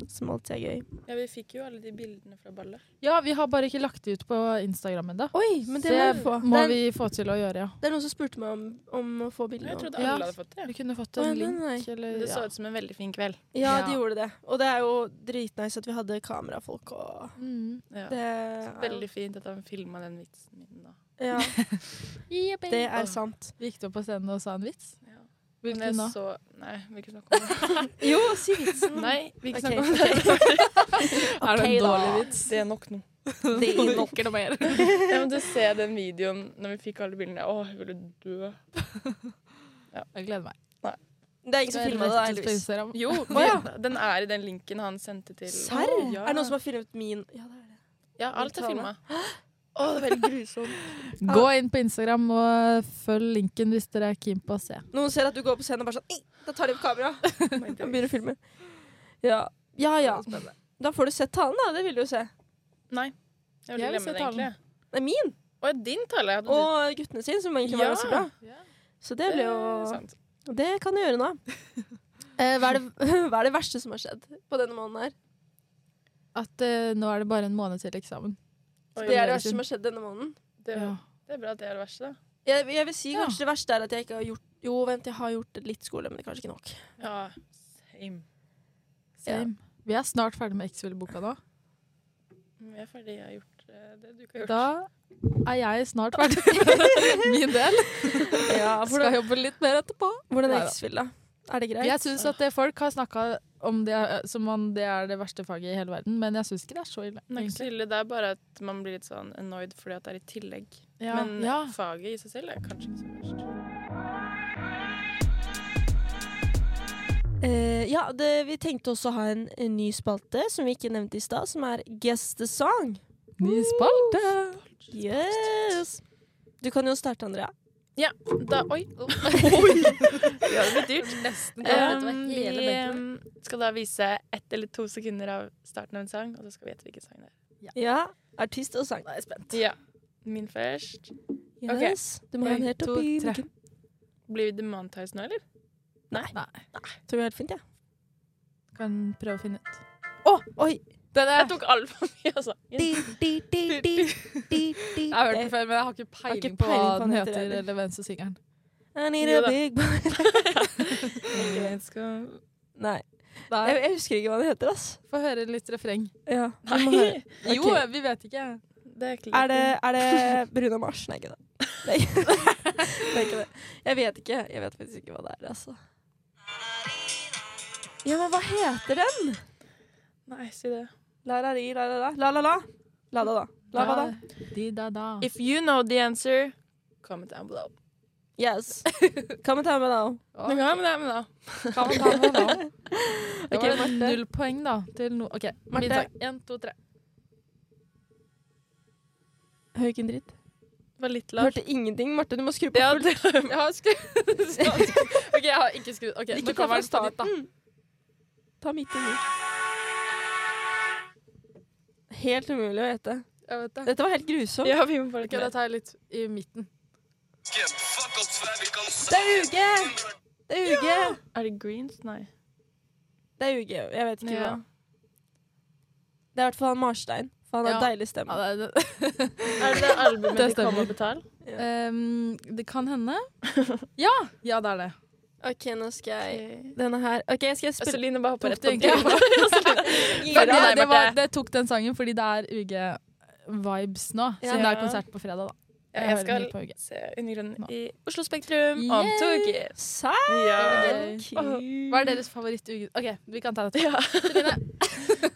S1: Smalt er gøy.
S3: Ja, vi fikk jo alle de bildene fra ballet.
S2: Ja, vi har bare ikke lagt det ut på Instagram ennå.
S1: Oi, men det må
S2: Så
S1: vi få.
S2: Må
S1: det, er,
S2: vi få til å gjøre, ja.
S1: det er noen som spurte meg om, om å få bilde
S3: Jeg
S1: nå.
S3: trodde
S2: Ja.
S3: alle hadde fått det.
S2: Vi kunne fått
S1: Å,
S2: en
S1: nei, nei.
S2: link eller
S3: Det så
S2: ja.
S3: ut som en veldig fin kveld.
S1: Ja, de
S2: Ja.
S1: gjorde det. Og det er jo dritnice at vi hadde kamerafolk og
S2: Mm.
S3: Ja.
S1: Det er,
S3: Så Veldig fint at han filma den vitsen min. Da.
S1: Ja, det er sant.
S2: Vi gikk opp på scenen og sa en vits.
S3: Ja. Men jeg
S2: Hvilken da?
S3: Så, nei, vi kan snakke om det.
S1: Jo, si vitsen.
S3: Nei, vi kan
S1: Ok,
S3: snakke om det.
S2: er det
S1: Ok,
S2: en
S1: da.
S2: dårlig vits?
S3: Det er nok nå.
S1: Det er nok.
S2: noe mer.
S3: Jeg måtte se den videoen når vi fikk alle bildene. Åh, jeg ville dø.
S2: Jeg gleder meg.
S1: Det er ingen som filma det, da,
S2: På
S1: heldigvis.
S2: Instagram.
S3: Jo, vi,
S1: Å,
S3: den er i den linken han sendte til
S1: Serr?
S3: Ja.
S1: Er det noen som har filmet min Ja, det er det.
S3: Ja, alt er
S1: Tale?
S3: filma.
S1: Å, det er veldig grusomt.
S2: Gå inn på Instagram og følg linken hvis dere er keen på å se.
S1: Noen ser at du går på scenen og bare sånn «Ei, Da tar de opp kamera og
S3: Nei,
S1: begynner å filme. Ja. ja ja. Da får du sett talen, da. Det vil du jo se.
S3: jeg
S2: Jeg
S3: ville
S2: vil
S3: glemme
S2: se
S3: det, egentlig.
S1: Det er min
S3: Å, ja, din tale. Hadde du-
S1: og guttene sin, som egentlig var
S3: Ja.
S1: ganske bra. Så det ble
S3: er
S1: jo
S3: sant.
S1: Det kan jeg gjøre nå. Eh, hva, er det, hva er det verste som har skjedd på denne måneden her?
S2: At eh, nå er det bare en måned til eksamen.
S3: Oi,
S1: Det er det
S2: gjøre
S1: verste
S2: sin.
S1: som har skjedd denne måneden.
S3: det,
S2: Ja.
S3: det er bra at det er det verste, da.
S1: Jeg, jeg vil si
S2: Ja.
S1: kanskje det verste er at jeg ikke har gjort Jo, vent, jeg har gjort litt skole, men det er kanskje ikke nok.
S3: Ja, same.
S2: Same. Vi er snart ferdig med X-Fill-boka nå.
S3: Vi er ferdig. Jeg har gjort eh, det du ikke har gjort.
S2: Da er jeg snart ferdig med min del.
S1: Ja,
S2: Skal
S1: hvordan,
S2: jobbe litt mer etterpå.
S1: hvordan
S2: Neida.
S1: er X-Fill, da? Er det greit?
S2: Jeg syns at det folk har snakka om det er- som om det er det verste faget i hele verden, men jeg syns ikke det er så ille.
S3: Det er ikke så
S2: egentlig.
S3: ille. Det er bare at man blir litt sånn annoyed fordi at det er i tillegg.
S2: Ja.
S3: Men
S2: ja.
S3: faget i seg selv er kanskje ikke så verst.
S1: Eh, ja, det, vi tenkte også å ha en, en ny spalte som vi ikke nevnte i stad, som er Guess the song.
S2: Ny spalte!
S1: Yes! Du kan jo starte, Andrea.
S3: Ja, da Oi! oh. Ja, det blir dyrt.
S4: Nesten.
S3: Um, vi um, skal da vise ett eller to sekunder av starten av en sang, og så skal vi gjette hvilken sang det er.
S1: Ja. Artist og sang.
S3: Ja. Min først. Ok.
S1: Yes. Du må ha den
S2: En,
S1: helt
S2: to,
S1: oppi
S2: tre.
S1: mikken.
S3: Blir vi demontised nå, eller?
S1: Tror det er helt fint, jeg.
S2: Kan prøve å finne ut.
S1: Å, oi!
S2: Den
S3: Jeg tok altfor mye altså. av sangen.
S1: Di, di, di, di, di, di.
S2: Jeg har hørt den før, men jeg har ikke
S1: har ikke
S2: peiling på
S1: peiling
S2: hva
S1: på
S2: den
S1: hva den
S2: heter,
S1: heter,
S2: eller hvem som synger den.
S1: I need
S3: Jo
S1: a
S3: da.
S1: big boy.
S3: Jeg skal-
S1: Nei. Jeg,
S2: Nei,
S1: jeg husker ikke hva den heter, ass.
S2: Få høre litt refreng.
S1: Ja. vi må høre.
S3: Nei,
S2: Jo, vi vet ikke.
S3: det er ikke
S1: Er det, er det Bruno Mars? Nei, ikke det. Nei. det er ikke det. Jeg vet ikke. Jeg vet faktisk ikke hva det er, altså. Ja, men hva heter den?
S3: Nei, si det.
S1: La-la-li, la-la-la. La-la-la. La-da-da. La-da-da.
S2: Di da da.
S3: If you know the answer, comment down below.
S1: Yes. Come and tell me now.
S3: Nå kan vi det, men da.
S2: Kan man ta den nå? Det
S1: Ok,
S2: var
S1: Marte.
S2: null poeng, da. Til no OK,
S1: Marte.
S2: min sang. Én, to, tre.
S1: Hører ikke en dritt.
S3: Det var litt lavt.
S1: Hørte ingenting. Marte, du må skru på
S2: Ja,
S1: fullt.
S2: det, jeg har skrudd OK, jeg har ikke skrudd. Ok,
S1: Ikke
S2: nå
S1: ta fra
S2: kommer den på ditt, da.
S1: starten. Ta midt i Helt umulig å gjette.
S2: Jeg vet det.
S1: Dette var helt grusomt.
S3: Ja, vi må bare
S2: Ok, da tar jeg litt i midten.
S1: Det er UG! Det er UG!
S3: Er det greens? Nei.
S1: Det er UG, jeg vet ikke
S3: Ja.
S1: hva. Det er i hvert fall han Marstein, for han har
S2: Ja.
S1: deilig stemme.
S2: Ja, det, det.
S3: Er det det
S2: Det
S3: albumet de kom
S2: stemmer.
S3: og betal?
S2: Um, det kan hende. Ja! Ja, det er det.
S1: Ok, nå skal jeg Denne her Ok, skal jeg spille
S3: Celine Altså, bare
S2: Tok
S3: hopper rett
S2: du
S3: på
S2: egentlig
S3: det.
S2: Det,
S3: Ferdig med
S2: det, var,
S3: deg, Marte.
S2: det tok den sangen fordi det er UG-vibes nå.
S1: Ja.
S2: Siden det er konsert på fredag, da.
S3: Ja,
S2: Jeg
S3: jeg
S2: hører
S3: skal
S2: mye på UG.
S3: se Undergrunnen i Oslo Spektrum om
S2: Yay!
S3: to uker.
S1: Serr?
S3: Ja.
S2: Gøy. Hva
S1: Hva
S2: er deres favoritt-UG? OK, vi kan ta det.
S3: Ja.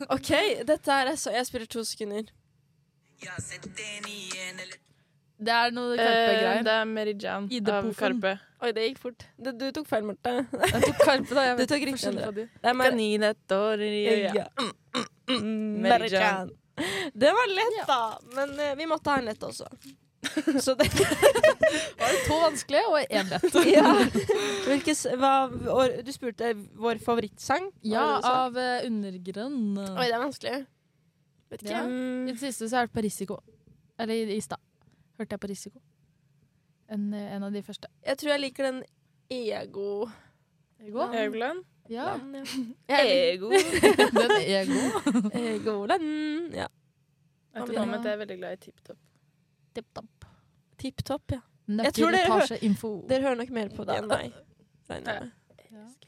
S1: OK, dette her er så Jeg spiller to sekunder.
S2: Det er noe
S3: Eh,
S2: Karpe-greier.
S3: Det er Mary Jan
S2: I
S3: av
S2: depoten.
S3: Karpe.
S1: Oi, det gikk fort. Du, du tok feil, Marte.
S2: Jeg tok Karpe, da. Jeg
S1: Du
S2: vet
S1: tok
S2: ikke
S1: riktig,
S2: forskjellen på de.
S1: Det er Mar-
S3: Kanin et år i øya.
S1: Ja. Mm,
S3: Mary
S1: Mary
S3: Jane.
S1: Jane. Det var lett, da. Men eh, vi måtte ha en lett også. Så det
S2: Var det to vanskelige og én lett?
S1: Ja. Hvilke, s- hva, år- du spurte vår favorittsang. var
S2: Ja,
S1: det du sa?
S2: av eh, Undergrønn.
S1: Oi, det er vanskelig. Vet ikke.
S2: Mm. Ja. I
S3: Mm,
S2: det siste så har jeg hørt på Risiko. Eller i, i stad hørte jeg på Risiko. En, eh, en av de første.
S1: Jeg tror jeg liker den ego
S2: Ego?
S1: Ja.
S3: Egoland?
S2: Ja,
S1: Land, ja.
S3: Ego.
S2: den er god.
S1: Egoland. Ja.
S3: Etter Mohammed er jeg veldig glad i Tipp Topp.
S1: Tipp topp. Tipp topp, ja. Jeg tror dere hører-
S2: Nøkkelletasjeinfo.
S1: Dere hører nok mer på det enn meg. Regner
S3: Ja.
S1: jeg med.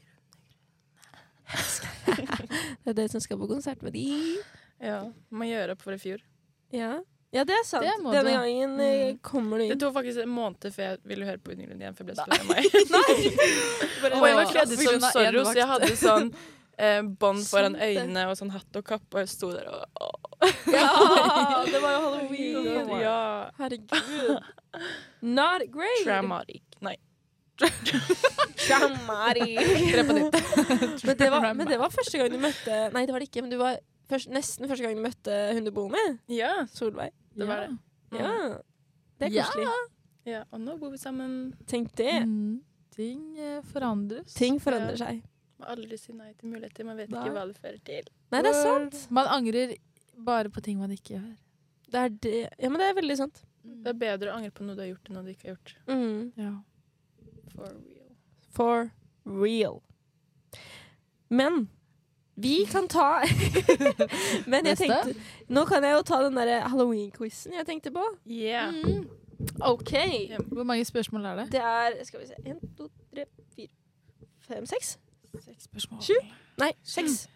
S1: Det er dere som skal på konsert med de.
S3: Ja, Må gjøre opp for i fjor.
S1: Ja, ja det er sant.
S2: Det må
S1: Denne
S2: du.
S1: gangen eh, kommer du
S3: Det
S1: inn.
S3: tok faktisk en måned før jeg ville høre på Undergrunnen igjen, for jeg ble så lei meg. Og jeg var kledd ut
S2: Pga.
S3: som
S2: én
S3: Zorro, så jeg
S2: vakt.
S3: hadde sånn eh, bånd foran
S1: Sant det.
S3: øynene og sånn hatt og kapp, og jeg sto der og åh,
S1: Ja, det var jo halloween.
S3: Ja.
S1: Herregud. Not great.
S3: Traumatic. Nei.
S1: Traumatic.
S2: Tre på nytt.
S1: men, det var, men det var første gang du møtte Nei, det var det ikke, men du var først, nesten første gang du møtte hun du bor med,
S3: Ja.
S1: Solveig.
S3: Det var det.
S1: Ja. Det er
S2: Ja.
S1: koselig.
S3: ja. Og nå bor vi sammen.
S1: Tenk det.
S2: Mm, ting eh, forandres.
S1: Ting forandrer seg.
S3: Må aldri si nei til muligheter. Man vet
S2: Nei.
S3: ikke hva det fører til.
S1: Nei, det er sant.
S2: Man angrer bare på ting man ikke gjør.
S1: Det er det. Ja, men det er veldig sant.
S2: Mm.
S3: Det er bedre å angre på noe du har gjort, enn noe du ikke har gjort.
S1: Mm.
S2: Ja.
S3: For real.
S1: For real. Men vi kan ta Men jeg
S2: Neste.
S1: tenkte Nå kan jeg jo ta den derre halloween-quizen jeg tenkte på.
S3: Yeah.
S2: Mm.
S1: OK.
S2: Hvor mange spørsmål er det?
S1: Det er Skal vi se En, to, tre, fire, fem, seks?
S2: Seks spørsmål.
S1: Sju? Nei, seks.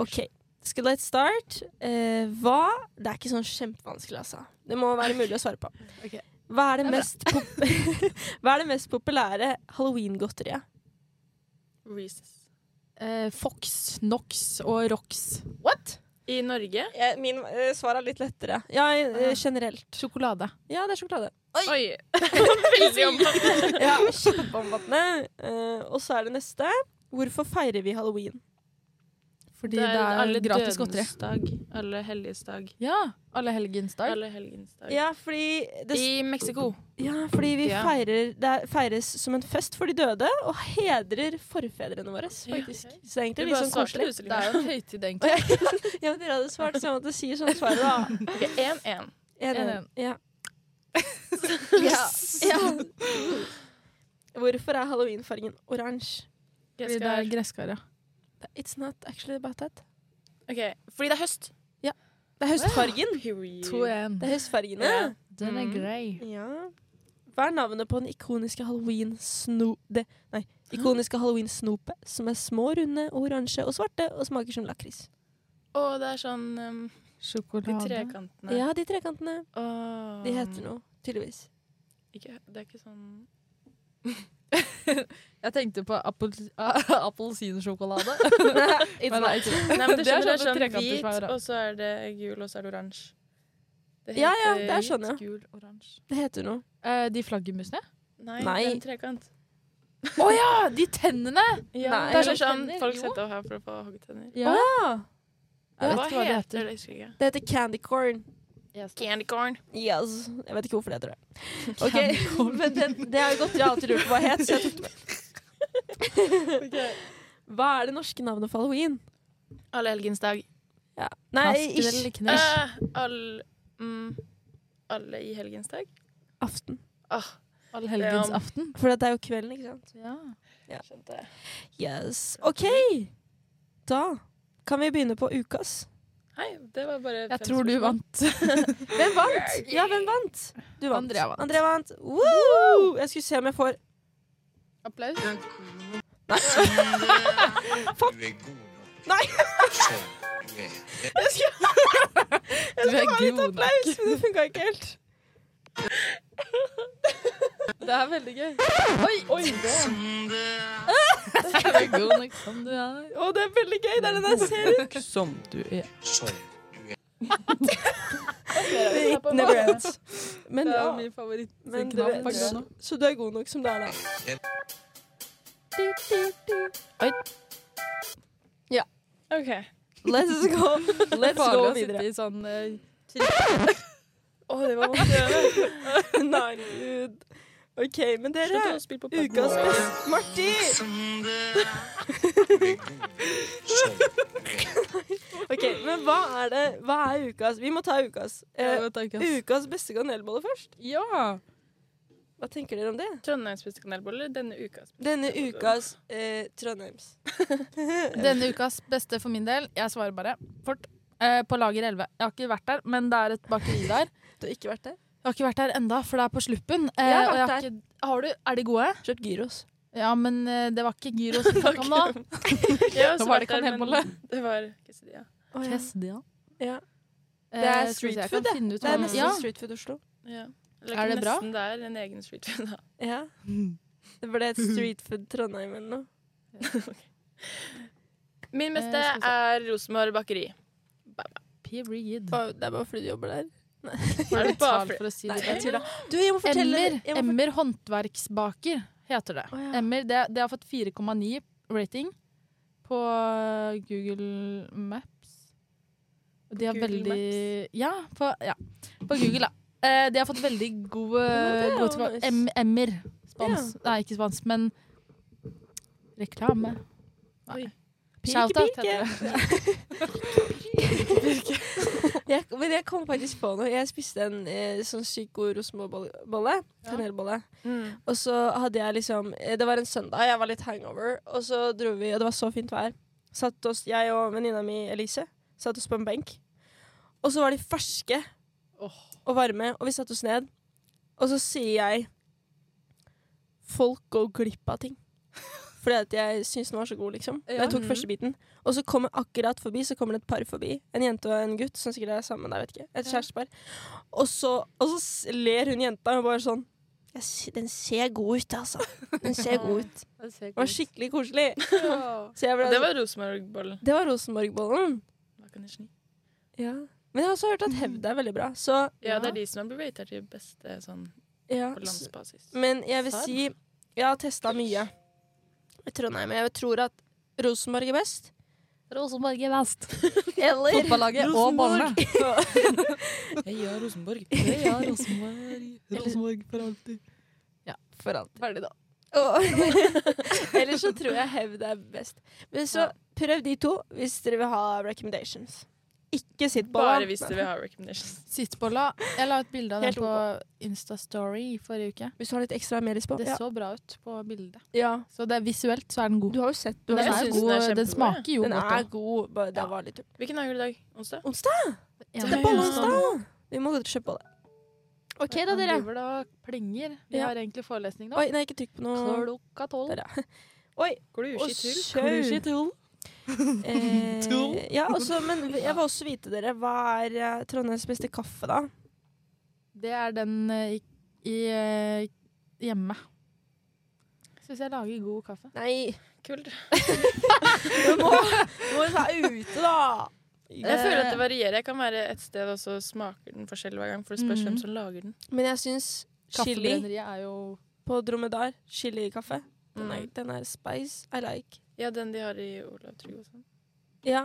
S1: OK. Skal let's start. Eh, hva Det er ikke sånn kjempevanskelig, altså. Det må være mulig å svare på.
S2: Ok.
S1: Hva er det
S2: Det er bra.
S1: mest, pop hva er det mest populære halloween-godteriet?
S3: Reese's.
S2: Eh, Fox, Nox og Rox.
S1: What?
S3: I Norge
S1: min eh, svar er litt lettere. Ja, eh, generelt.
S2: Sjokolade.
S1: Ja, det er sjokolade.
S3: Oi! Veldig omfattende.
S1: Ja, kjempeomfattende. Eh, og så er det neste. Hvorfor feirer vi halloween?
S2: Fordi det er, gratis godteri.
S3: dag. Alle helliges dag.
S2: Ja. Alle helgens dag.
S3: Alle helgens dag.
S1: Ja, fordi det,
S3: I Mexico.
S1: ja, fordi vi
S3: Ja.
S1: feirer Det er- feires som en fest for de døde, og hedrer forfedrene våre, faktisk.
S3: Ja.
S1: Så det er
S3: Du
S1: egentlig litt
S3: bare
S1: sånn
S3: svarte,
S1: koselig.
S3: du,
S2: Det er
S3: Celine.
S2: jo en høytid,
S1: Å,
S2: egentlig.
S1: ja, ja, men dere hadde svart sånn at det sier sånn svaret, da.
S3: Ok, 1-1.
S1: En,
S2: En,
S1: en. Ja.
S2: Yes.
S1: Ja. Hvorfor er halloweenfargen oransje?
S3: Jeg
S2: Fordi det
S3: skal-
S2: er gresskar, ja.
S1: It's not actually about that.
S3: Ok, Fordi det er høst.
S1: Det er høstfargen.
S2: To igjen.
S1: Det er høstfargene.
S3: Ja.
S2: Den er
S3: Mm.
S2: grei.
S1: Ja. Hva er navnet på den ikoniske halloween-snopet Nei, ikoniske halloween-snopet som er små, runde, oransje og svarte og smaker som lakris?
S3: Og det er sånn um, De
S2: Sjokolade.
S3: trekantene.
S1: Ja, de trekantene.
S3: Åh.
S1: De
S2: Ah.
S1: heter noe, tydeligvis.
S3: Ikke, det er ikke sånn
S2: Jeg tenkte på appels- appelsinsjokolade.
S1: It's
S2: Men
S1: not.
S2: det er ikke-
S3: Nei, men det,
S2: Det er
S3: skjønner, det er
S2: sånne
S3: sånn
S2: trekanter
S3: hvit,
S2: som er oransje.
S3: og så er det gul, og så er det oransje. Det
S1: Ja, ja,
S3: heter
S1: det er sånn,
S3: hvit,
S1: ja.
S3: Gul, oransje.
S1: Det heter noe.
S2: Eh, de flaggermusene?
S3: Nei,
S1: Nei.
S3: det er en trekant.
S2: Å ja! De tennene!
S3: Ja,
S1: Nei.
S3: det er sånn, sånn
S2: Tenner,
S3: folk
S2: jo.
S3: setter her for å få hoggtenner.
S2: Ja. Jeg vet
S3: hva
S2: ikke hva det heter.
S3: det? Jeg husker ikke.
S1: Det heter candy corn.
S3: Candy corn.
S1: Yes. Jeg vet ikke hvorfor det heter det. Ok, Men det, det er jo godt jeg har alltid lurt på hva het, så jeg tok det med. Hva er det norske navnet for halloween?
S3: Alle helgens dag.
S1: Ja. Nei,
S2: Kast eller
S1: ikke
S2: kners.
S3: Eh, all, mm, alle i helgens dag?
S1: aften.
S3: Åh,
S2: Allhelgens
S3: Ja.
S2: aften.
S1: For dette er jo kvelden, ikke sant?
S2: Ja.
S3: skjønte jeg.
S1: Yes. OK! Da kan vi begynne på ukas.
S3: Hei, det var bare
S2: Jeg
S3: fem
S2: tror du
S3: spørsmål.
S2: vant.
S1: Hvem vant? Ja, hvem vant? Du vant.
S2: Andrea vant.
S1: Andrea vant. Woo! Jeg skulle se om jeg får
S2: Applaus.
S4: Du er god nok.
S1: Nei.
S4: Som du er.
S2: Du er god nok.
S1: applaus, men det funka ikke helt.
S2: Det er veldig gøy. Oi, oi, Du er god nok som du er.
S1: Å, det er veldig gøy. Det er den jeg ser ut.
S3: Som du er.
S4: Som du er.
S1: Never ends. Men
S2: Det
S1: ja.
S2: er min favoritt.
S1: Men du,
S2: knapp, ikke
S1: så,
S2: sant?
S1: så du er god nok som du er, da.
S3: Ok.
S1: Let's go, Let's
S2: Farlig
S1: go
S2: å sitte
S1: videre.
S2: i sånn eh,
S3: Åh, det var vondt å gjøre.
S1: Nei, gud. OK, men dere
S3: Slutt å spille på padden.
S1: Ukas best Marti!
S4: Du er god nok. Som du er.
S1: Ok, men hva er det Hva er ukas Vi må ta ukas.
S2: jeg
S1: Eh,
S2: vet ikke, ass.
S1: ukas beste kanelbolle først.
S2: Ja!
S1: Hva tenker dere om det?
S3: Trondheims kanelboller denne uka.
S1: Denne ukas eh, Trondheims.
S2: Denne ukas beste for min del, jeg svarer bare fort, eh, på Lager 11. Jeg har ikke vært der, men det er et bakeri der.
S1: Du har ikke vært der?
S2: Jeg har ikke vært der enda, for det er på Sluppen. Eh,
S1: Jeg har
S2: og
S1: vært
S2: har ikke, har du, er de gode?
S1: Kjøpt gyros.
S2: Ja, men eh, det var ikke gyros vi snakket om nå.
S3: Ja,
S2: Da
S3: så
S2: var det
S3: vært der, men
S2: kanelbolle.
S3: Det var quesadilla.
S1: ja.
S2: Quesadilla.
S1: Ja.
S2: Eh,
S1: Det er
S2: skal vi se,
S1: street
S2: jeg
S1: food,
S2: kan finne ut
S1: Det
S2: hva
S1: er
S2: den-
S1: nesten
S2: ja.
S1: Street Food Oslo.
S3: Ja.
S2: Er det bra?
S3: Nesten der, en egen street food. da.
S1: Ja. Det ble et Street Food Trondheim eller noe.
S3: Min
S2: Eh,
S3: beste
S2: skal vi se.
S3: er Rosenborg bakeri.
S2: Period.
S1: Å, det er bare fordi du jobber der.
S3: Er det bare
S2: Betalt
S3: fordi-
S2: for å si
S1: Nei,
S2: det.
S1: jeg tulla. Du, jeg må fortelle
S2: Emmer,
S1: jeg må
S2: Emmer håndverksbaker heter det.
S1: Å, ja.
S2: Emmer, det, det har fått 4,9 rating på Google Maps. Og de har
S3: Google
S2: veldig Ja, på, ja, på Google, da. Eh, de har fått veldig god,
S1: Ja, men det er
S2: god
S1: jo
S2: tilbake...
S1: nice.
S2: Em, emmer. Spons. Nei, ikke spons, men reklame. Nei.
S3: Oi.
S1: Pirke,
S2: Shoutout
S1: pirke.
S2: heter det.
S1: Jeg, men jeg kom faktisk på noe. Jeg spiste en eh, sånn sykt god rosenborgbolle. Kanelbolle.
S3: Mm.
S1: Og så hadde jeg liksom eh, Det var en søndag, jeg var litt hangover, og så dro vi, og det var så fint vær. Satt oss, Jeg og venninna mi Elise satt oss på en benk. Og så var de ferske
S2: Åh.
S1: og varme, og vi satte oss ned. Og så sier jeg Folk går glipp av ting. Fordi at jeg syns den var så god, liksom. Og Jeg tok
S3: Mhm.
S1: første biten. Og så kommer akkurat forbi Så kommer det et par forbi. En jente og en gutt som sikkert er sammen. Jeg vet ikke. Et kjærestepar. Og så, og så s- ler hun jenta og bare sånn jeg, sy- Den ser god ut, altså. Den ser god ut. Det var skikkelig koselig. Så jeg ble,
S3: Det var Rosenborg-bollen.
S1: det var Rosenborgbollen.
S3: Hva kan jeg sni?
S1: Ja. Men jeg har også hørt at hevd er veldig bra. Så
S3: Ja, det er de som har blitt ratet til beste sånn
S1: ja.
S3: på landsbasis.
S1: Men jeg vil
S2: Serr?
S1: si Jeg har testa mye i Trondheim. Jeg tror at Rosenborg er best.
S2: Rosenborg i vest.
S1: Eller
S2: Fotballaget og bollene.
S3: Jeg gjør Rosenborg.
S2: Ja, Rosenborg. Rosenborg for alltid. Ja, for alltid. Ferdig, da.
S1: Og- Ellers så tror jeg hevd er best. Men så prøv de to hvis dere vil ha recommendations. Ikke sitt på
S3: Bare hvis du vil ha recommendations.
S2: Sittbolla. Jeg la ut bilde av den
S1: Helt
S2: på Instastory forrige uke.
S1: Hvis du har litt ekstra mer lyst på.
S2: Det
S1: Ja.
S2: så bra ut på bildet.
S1: ja.
S2: Så det er visuelt så er den god.
S1: Du har jo sett du
S2: Den,
S1: har
S3: Jeg
S1: sett
S2: er
S3: synes
S1: god.
S2: god,
S3: den er
S2: den,
S3: kjempegod,
S2: smaker jo
S1: Den er
S2: godt.
S1: god, bare det
S2: Ja.
S1: var litt tull.
S3: Hvilken dag er det i dag? Onsdag?
S1: Onsdag!
S2: Ja.
S1: Det er på onsdag! Vi må gå og kjøpe på det. OK, da,
S2: Han
S1: dere.
S2: driver da og plinger. Vi
S1: Ja.
S2: har egentlig forelesning nå.
S1: Oi, nei, ikke trykk på noe.
S2: Klokka tolv.
S1: Der, Oi, og
S3: Glusj i tull.
S1: sjau!
S2: tull. Tull.
S1: Eh, ja, også, men jeg vil også vite, dere, hva er eh, Trondheims beste kaffe, da?
S2: Det er den eh, i, i eh, hjemme. Syns jeg lager god kaffe.
S1: Nei,
S3: Kult.
S1: du må, du må være ute, da!
S3: Jeg føler at det varierer. Jeg kan være et sted, og så smaker den forskjellig hver gang. For det spørs
S2: Mhm.
S3: hvem som lager den.
S1: Eh, Men jeg syns chili
S2: Kaffebrenneriet er jo
S1: på dromedar, chili-kaffe, den, er-
S3: Mm.
S1: den er spice I like.
S3: Ja, den de har i Olav Trygg og sånn.
S1: Ja.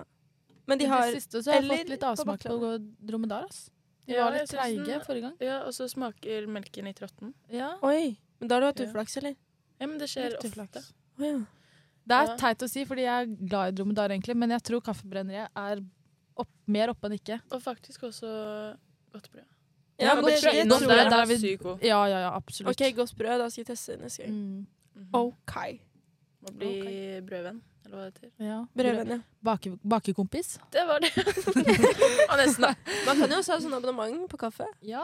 S1: Men de
S2: I
S1: har
S2: det siste så har jeg
S1: eller
S2: fått litt
S1: på
S2: avsmak på å gå dromedar. Ass. De
S3: Ja,
S2: var litt
S3: jeg synes
S2: treige
S3: den-
S2: forrige gang.
S3: Ja, og så smaker melken litt råtten.
S2: Ja,
S1: Oi! Men da har du hatt
S3: Ja.
S1: uflaks, eller?
S3: Ja, men det skjer
S2: litt
S3: ofte.
S2: uflaks.
S1: Å ja.
S2: Det er
S3: Ja.
S2: teit å si, fordi jeg er glad i dromedar, egentlig, men jeg tror kaffebrenneriet er opp, mer oppe enn ikke.
S3: Og faktisk også godt brød.
S1: Ja,
S2: Ja,
S1: men
S2: godt
S1: det-
S2: fra
S1: det
S2: innom
S1: tror
S2: der,
S1: jeg.
S2: der
S3: var
S2: er vi-
S3: sykt god.
S2: Ja, ja, ja, absolutt.
S1: OK, godt brød. Da skal jeg teste det neste gang.
S2: Mm,
S3: Mhm.
S1: OK.
S3: Må bli brødvenn, eller hva det heter.
S2: ja.
S1: Brødvenn, ja.
S2: Bake, bakekompis?
S3: Det var det. og nesten, da.
S1: Man kan jo også ha sånn abonnement på kaffe.
S2: Ja,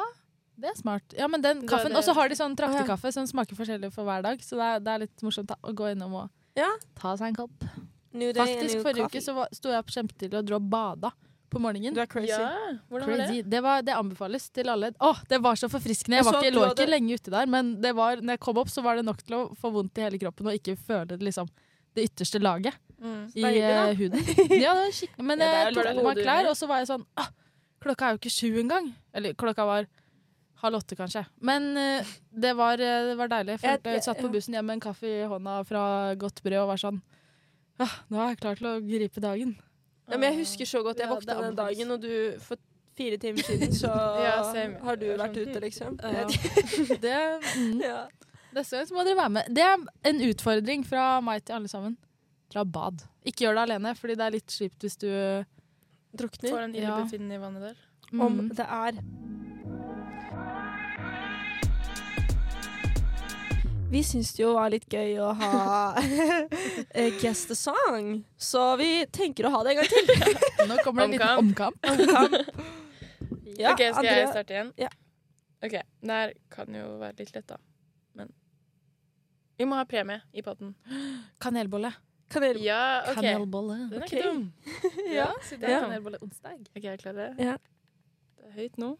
S2: det er smart. Ja, men den
S3: Det er
S2: kaffen,
S3: det-
S2: Og så har de sånn
S1: Å, ja.
S2: traktekaffe som smaker forskjellig for hver dag, så det er, det er litt morsomt da, å gå innom og
S1: Ja.
S2: ta seg en kopp.
S1: New day,
S2: Faktisk,
S1: new
S2: forrige
S1: coffee.
S2: uke så var- sto jeg opp kjempetidlig og dro og bada på morgenen.
S1: Du er crazy.
S3: Ja, hvordan var det?
S2: Crazy. Det, var, det anbefales til alle. Åh, det var så forfriskende.
S1: Jeg
S2: Jeg, var
S1: så
S2: ikke,
S1: at du
S2: lå ikke
S1: hadde-
S2: lenge ute der, men det var, når jeg kom opp, så var det nok til å få vondt i hele kroppen og ikke føle liksom, det ytterste laget
S3: Mm.
S2: i
S1: Deilig, da.
S2: eh, huden. Ja, det var skikkelig. Men
S1: Ja, det er
S2: jeg
S1: jo
S2: tok
S3: bare
S2: på meg
S3: hodet
S2: klær,
S3: under.
S2: og så var jeg sånn ah, Klokka er jo ikke sju engang. Eller klokka var halv åtte, kanskje. Men eh, det, var, eh, det var deilig. Jeg
S1: Jeg-
S2: følte jeg satt på
S1: ja.
S2: bussen hjem med en kaffe i hånda fra godt brød og var sånn ah, Nå er jeg klar til å gripe dagen.
S1: Ja, men jeg husker så godt. Jeg
S2: Ja,
S1: våkna
S2: det er
S1: den dagen, og du for fire timer siden så
S3: Ja, same.
S1: har du
S3: Jeg
S1: vært
S3: skjønner.
S1: ute, liksom.
S2: sånn, hm. Ja. Det, mm.
S1: Ja.
S2: Neste gang så må dere være med. Det er en utfordring fra meg til alle sammen. Dra bad. Ikke gjør det alene, fordi det er litt kjipt hvis du
S1: Drukner.
S3: Får en
S2: Ja.
S3: illebefinnende i vannet der.
S1: Om
S2: Mm.
S1: det er Vi syntes det jo var litt gøy å ha eh, guest the song, så vi tenker å ha det en gang til.
S2: Nå kommer det en liten omkamp.
S1: Ja,
S3: ok, skal
S1: Andrea.
S3: jeg starte igjen?
S1: Ja.
S3: Ok, det her kan jo være litt lett, da. Men vi må ha premie i potten.
S2: Kanelbolle.
S1: Kanel.
S3: Ja, OK.
S2: Kanelbolle.
S3: Den er
S1: Ok.
S3: ikke dum.
S1: Ja.
S3: så det
S1: Ja.
S3: er sånn.
S2: Kanelbolle onsdag.
S3: OK, er klare?
S1: Ja.
S3: Det er høyt nå.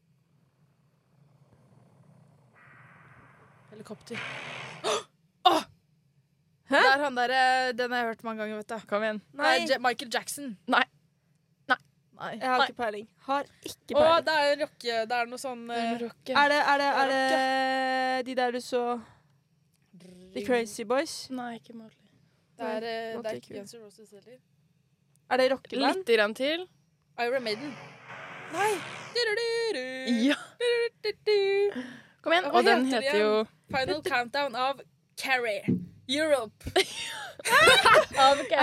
S2: Helikopter.
S1: Hæ?
S2: Det er han der, eh, den har jeg hørt mange ganger, vet du.
S3: Kom igjen.
S1: Nei,
S2: Det er Ja- Michael Jackson.
S3: Nei. Nei.
S2: Nei.
S1: jeg har ikke peiling. Har ikke
S2: Å,
S1: peiling.
S2: det er en rocke Det er noe sånn eh,
S3: Rocket.
S1: Er det, er det, er det de der du så The Crazy Boys?
S3: Nei, ikke Marley.
S2: Det er, eh,
S1: Not
S2: det er
S1: the
S2: ikke
S1: Cure.
S2: Guns N' Roses heller.
S1: Er det rockeband?
S3: Lite grann til.
S1: Mm.
S2: Iron Maiden.
S1: Nei.
S3: Ja. Kom igjen.
S2: Hva
S3: Og den
S2: heter de
S3: heter jo
S2: Final Countdown av Carrie. Europe.
S1: Er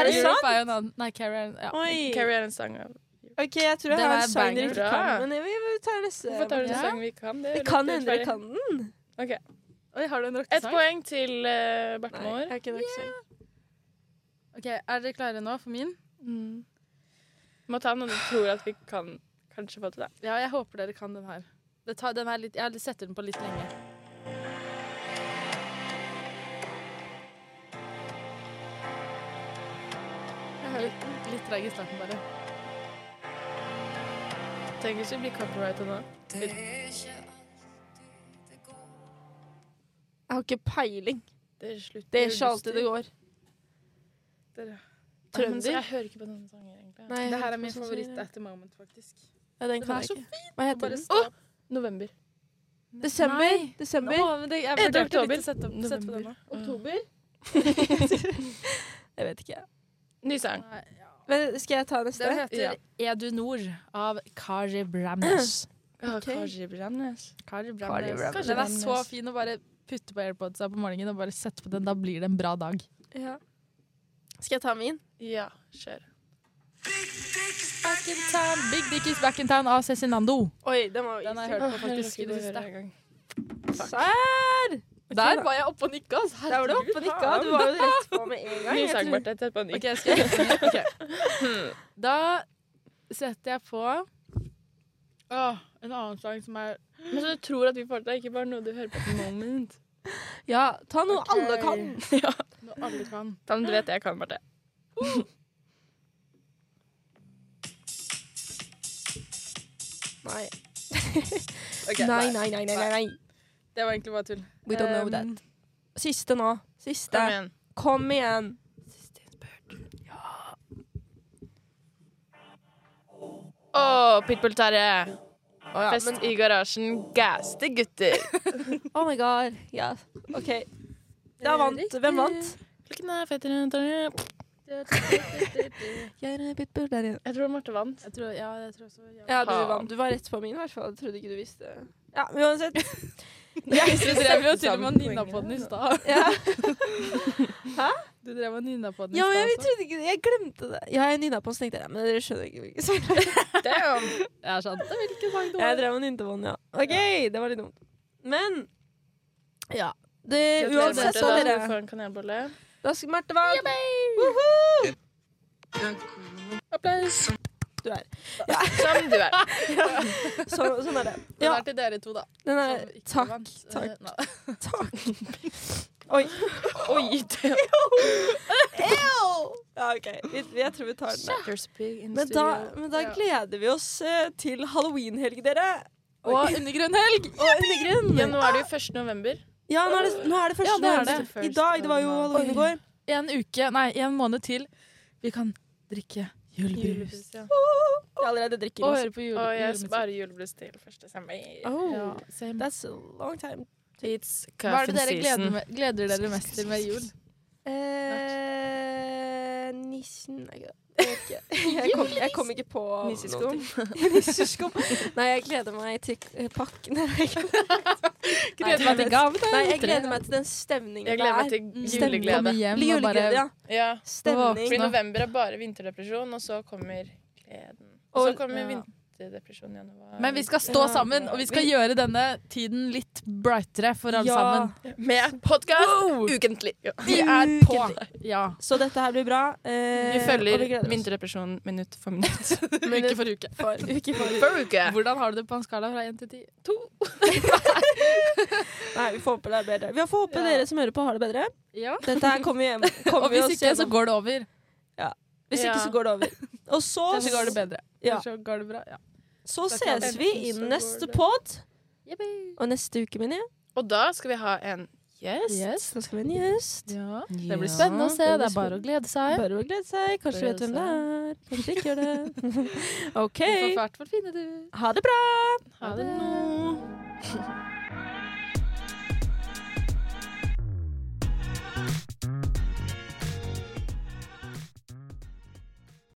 S1: det sant?
S2: er jo en annen Nei, Carrie er en ja.
S1: Oi.
S3: Carrie er en sang av
S1: OK, jeg tror jeg
S2: Det
S1: har en
S2: var
S1: sang dere
S2: banger.
S1: ikke
S3: Bra.
S1: kan. Men vi vi tar neste.
S3: Hvorfor tar du
S2: Ja.
S3: en sang vi kan? Det er
S1: Det
S3: jo
S1: kan
S3: litt
S1: hende dere kan
S3: rettferdig.
S1: den.
S3: Ok.
S1: Oi, har du en
S3: Et
S1: rockesang?
S3: poeng til uh, Berte
S1: Nei, jeg
S3: Moor.
S1: har ikke en rockesang.
S2: Ok, Er dere klare nå for min?
S3: Mm. Må ta noen du tror at vi kan kanskje få til det.
S2: Ja, jeg håper dere kan den her. Det tar, den er litt, jeg setter den på litt lenge. Jeg har litt, litt treig i starten, bare.
S3: Tenk hvis vi blir copyrighta nå.
S1: Jeg har ikke peiling.
S3: Det slutter
S1: Det er ikke alltid det går.
S3: Trønder?
S1: Trønder?
S3: Jeg hører ikke på sånne sanger, egentlig.
S1: Nei, jeg
S2: Det
S1: hører
S2: her
S1: ikke
S2: er min
S1: på sånn
S2: favoritt
S1: sang.
S2: at the moment, faktisk.
S1: Ja, den
S2: Den
S1: kan
S2: er
S1: jeg
S2: så
S1: ikke. Hva heter
S2: Bare
S1: den?
S2: stopp.
S3: November.
S1: Desember?
S2: Nei.
S1: Desember?
S2: Nå, men det, jeg
S3: Er det
S2: vurderte litt å
S3: oktober?
S2: Sette, opp, sette på den nå.
S1: Oktober? jeg vet ikke.
S3: Ny sang.
S2: Nei, ja.
S1: Men skal jeg ta neste?
S2: Den heter
S3: Ja.
S2: Edu Nord av Kari Bramnes.
S1: Ok.
S3: Kari Bremnes.
S1: Kari
S2: Kari Bramnes.
S1: Bramnes.
S2: Den er så fin å bare putte på airpodsa på morgenen og bare sette på den. Da blir det en bra dag.
S1: Ja. Skal jeg ta min?
S3: Ja, kjør.
S2: Back in town, Big Dick is back in town av Cezinando.
S1: Oi, den var jo
S2: Den har
S1: easy.
S2: jeg hørt på
S3: Åh, jeg
S2: faktisk i
S3: orker
S2: det
S3: ikke å
S2: siste.
S3: høre engang.
S1: Sær!
S2: Der var jeg oppe og nikka. Altså.
S1: Der var du oppe og nikka. Du var jo rett på med en gang.
S3: Ny
S1: Jeg
S3: sang,
S1: tror-
S3: Barte. Tett på en ny.
S2: Ok, skal jeg lese den? Ok. Da setter jeg på Åh, en annen sang som er
S3: Men så du tror at vi får til det, ikke bare noe du hører på på moment.
S1: Ja, ta noe
S2: Ok.
S1: alle kan.
S2: noe alle kan.
S3: Da, men du vet jeg kan, Barte.
S1: Nei.
S2: Ok,
S1: Nei, nei, nei, nei, nei, nei.
S2: Det var egentlig bare tull.
S1: We don't know
S2: Um,
S1: that. Siste nå.
S3: Kom
S1: Siste.
S3: igjen.
S1: Kom igjen.
S3: Å, Pitbull Terje.
S1: Å, ja,
S3: Fest
S1: men-
S3: i garasjen. Gaste gutter.
S1: Oh my god. Ja, OK. Da vant Hvem vant?
S3: Lykken er fett i den, Terje.
S1: Jeg er pitbull der igjen.
S3: Jeg tror Marte vant.
S2: Jeg tror, ja, jeg tror så, ja.
S1: Ja, du
S3: Faen.
S1: vant. Du var rett på min, i hvert fall. Jeg trodde ikke du visste Ja, men uansett.
S2: Du drev jo til og med og nynna på den i stad.
S1: Ja,
S2: Du drev og nynna på den i
S1: ja men
S2: stad.
S1: jeg
S2: så.
S1: trodde ikke det. Jeg glemte det. Ja, jeg nynna på den, så tenkte jeg ja, men dere skjønner ikke hvilken sang det er.
S3: Damn.
S2: Jeg er sånn, hvilken sang det
S1: Jeg
S2: var?
S1: drev og nynte på den, ja. OK, det var litt dumt. Men ja. Det,
S3: Gratulerer,
S1: uansett,
S3: Marte.
S1: så
S3: Da skal du
S1: dere.
S3: få en kanelbolle.
S1: Da skal Marte vant.
S2: Applaus.
S1: Du er.
S3: Som du er.
S1: Så, sånn er det.
S2: Den
S1: Ja, sånn
S2: er til dere to, da.
S1: den er
S2: som ikke
S1: Takk.
S2: vant. Eh,
S1: takk.
S2: nå.
S1: Takk. Oi.
S3: Oi, det
S1: Ja, OK. Vi, vi- jeg tror vi tar den der. Men
S3: Men
S1: da, men da
S2: Ja.
S1: gleder vi oss eh, til halloweenhelg, dere.
S2: Og undergrunnhelg!
S1: Og undergrunn.
S3: Ja, nå er det jo 1. november.
S1: Ja, nå er det, nå er det første.
S2: Ja, det er
S1: november.
S3: det.
S1: I dag. Det var jo
S3: Oi.
S1: halloween i går.
S2: En uke, nei, en måned til. Vi kan drikke julebrus.
S3: Julebrus, ja.
S1: Jeg allerede drikker
S2: Og
S1: masse.
S2: høre på jule,
S3: Og jeg
S2: julemusikk.
S3: sparer julebrus til 1. desember.
S1: Oh,
S2: Ja, same.
S1: that's a long time.
S3: It's
S2: Hva er det dere gleder, med, gleder dere mest til med jul?
S1: Eh, nissen Nei, jeg vet ikke. Jeg kom, jeg kom ikke på noen
S3: Nisseskum.
S1: ting. Nisseskum. Nei, jeg gleder meg til eh, pakken. Nei, jeg gleder-
S2: Gleder meg til gave, da.
S1: Nei, jeg gleder meg til den stemningen
S3: Jeg gleder meg
S2: Mm.
S3: til
S1: Stemning.
S3: juleglede.
S2: Komme hjem og
S1: Juleglede,
S2: bare
S1: ja.
S3: Ja.
S1: Stemning.
S3: Fordi
S2: Nå.
S3: november er bare vinterdepresjon, og så kommer gleden. Og så
S1: Og-
S3: kommer
S2: ja.
S3: heftig depresjon i januar.
S2: Men vi skal stå
S1: Ja.
S2: sammen, og vi skal
S1: Vi-
S2: gjøre denne tiden litt brightere for alle sammen.
S3: Med podkast ukentlig! Ja.
S2: Vi er på! Ja.
S1: Så dette her blir bra. eh,
S3: Vi
S1: og
S3: følger
S1: vi gleder oss.
S3: vinterdepresjonen minutt for minutt.
S1: Minutt
S3: uke for uke.
S1: for uke for uke.
S3: For uke!
S2: Hvordan har du det på en skala fra én til ti?
S1: Nei, vi får håpe det er bedre. Vi får håpe
S2: Ja.
S1: dere som hører på, har det bedre.
S2: Ja.
S1: Dette her kommer vi hjem. Kommer
S2: Og
S1: vi
S2: hvis
S1: oss
S2: ikke, så
S1: gjennom.
S2: går det over.
S1: Hvis
S3: Ja.
S1: ikke, så går det over. Og så,
S2: Så går det bedre.
S1: Ja.
S2: Så går det bra. Ja.
S1: så
S2: Da kan-
S1: ses vi i
S3: Enten så
S1: neste
S3: går det-
S1: pod. Og neste uke, mener jeg.
S3: Og da skal vi ha en gjest.
S2: Yes.
S1: Så skal vi ha en gjest.
S2: Ja.
S3: Det blir spennende.
S2: Spennende å se.
S1: det blir
S2: Det er bare å glede seg.
S1: Bare å glede seg. Kanskje du vet hvem det er. Kanskje ikke gjør det. OK.
S2: Du får hvert vårt fine, du.
S1: Ha det bra.
S3: Ha det nå.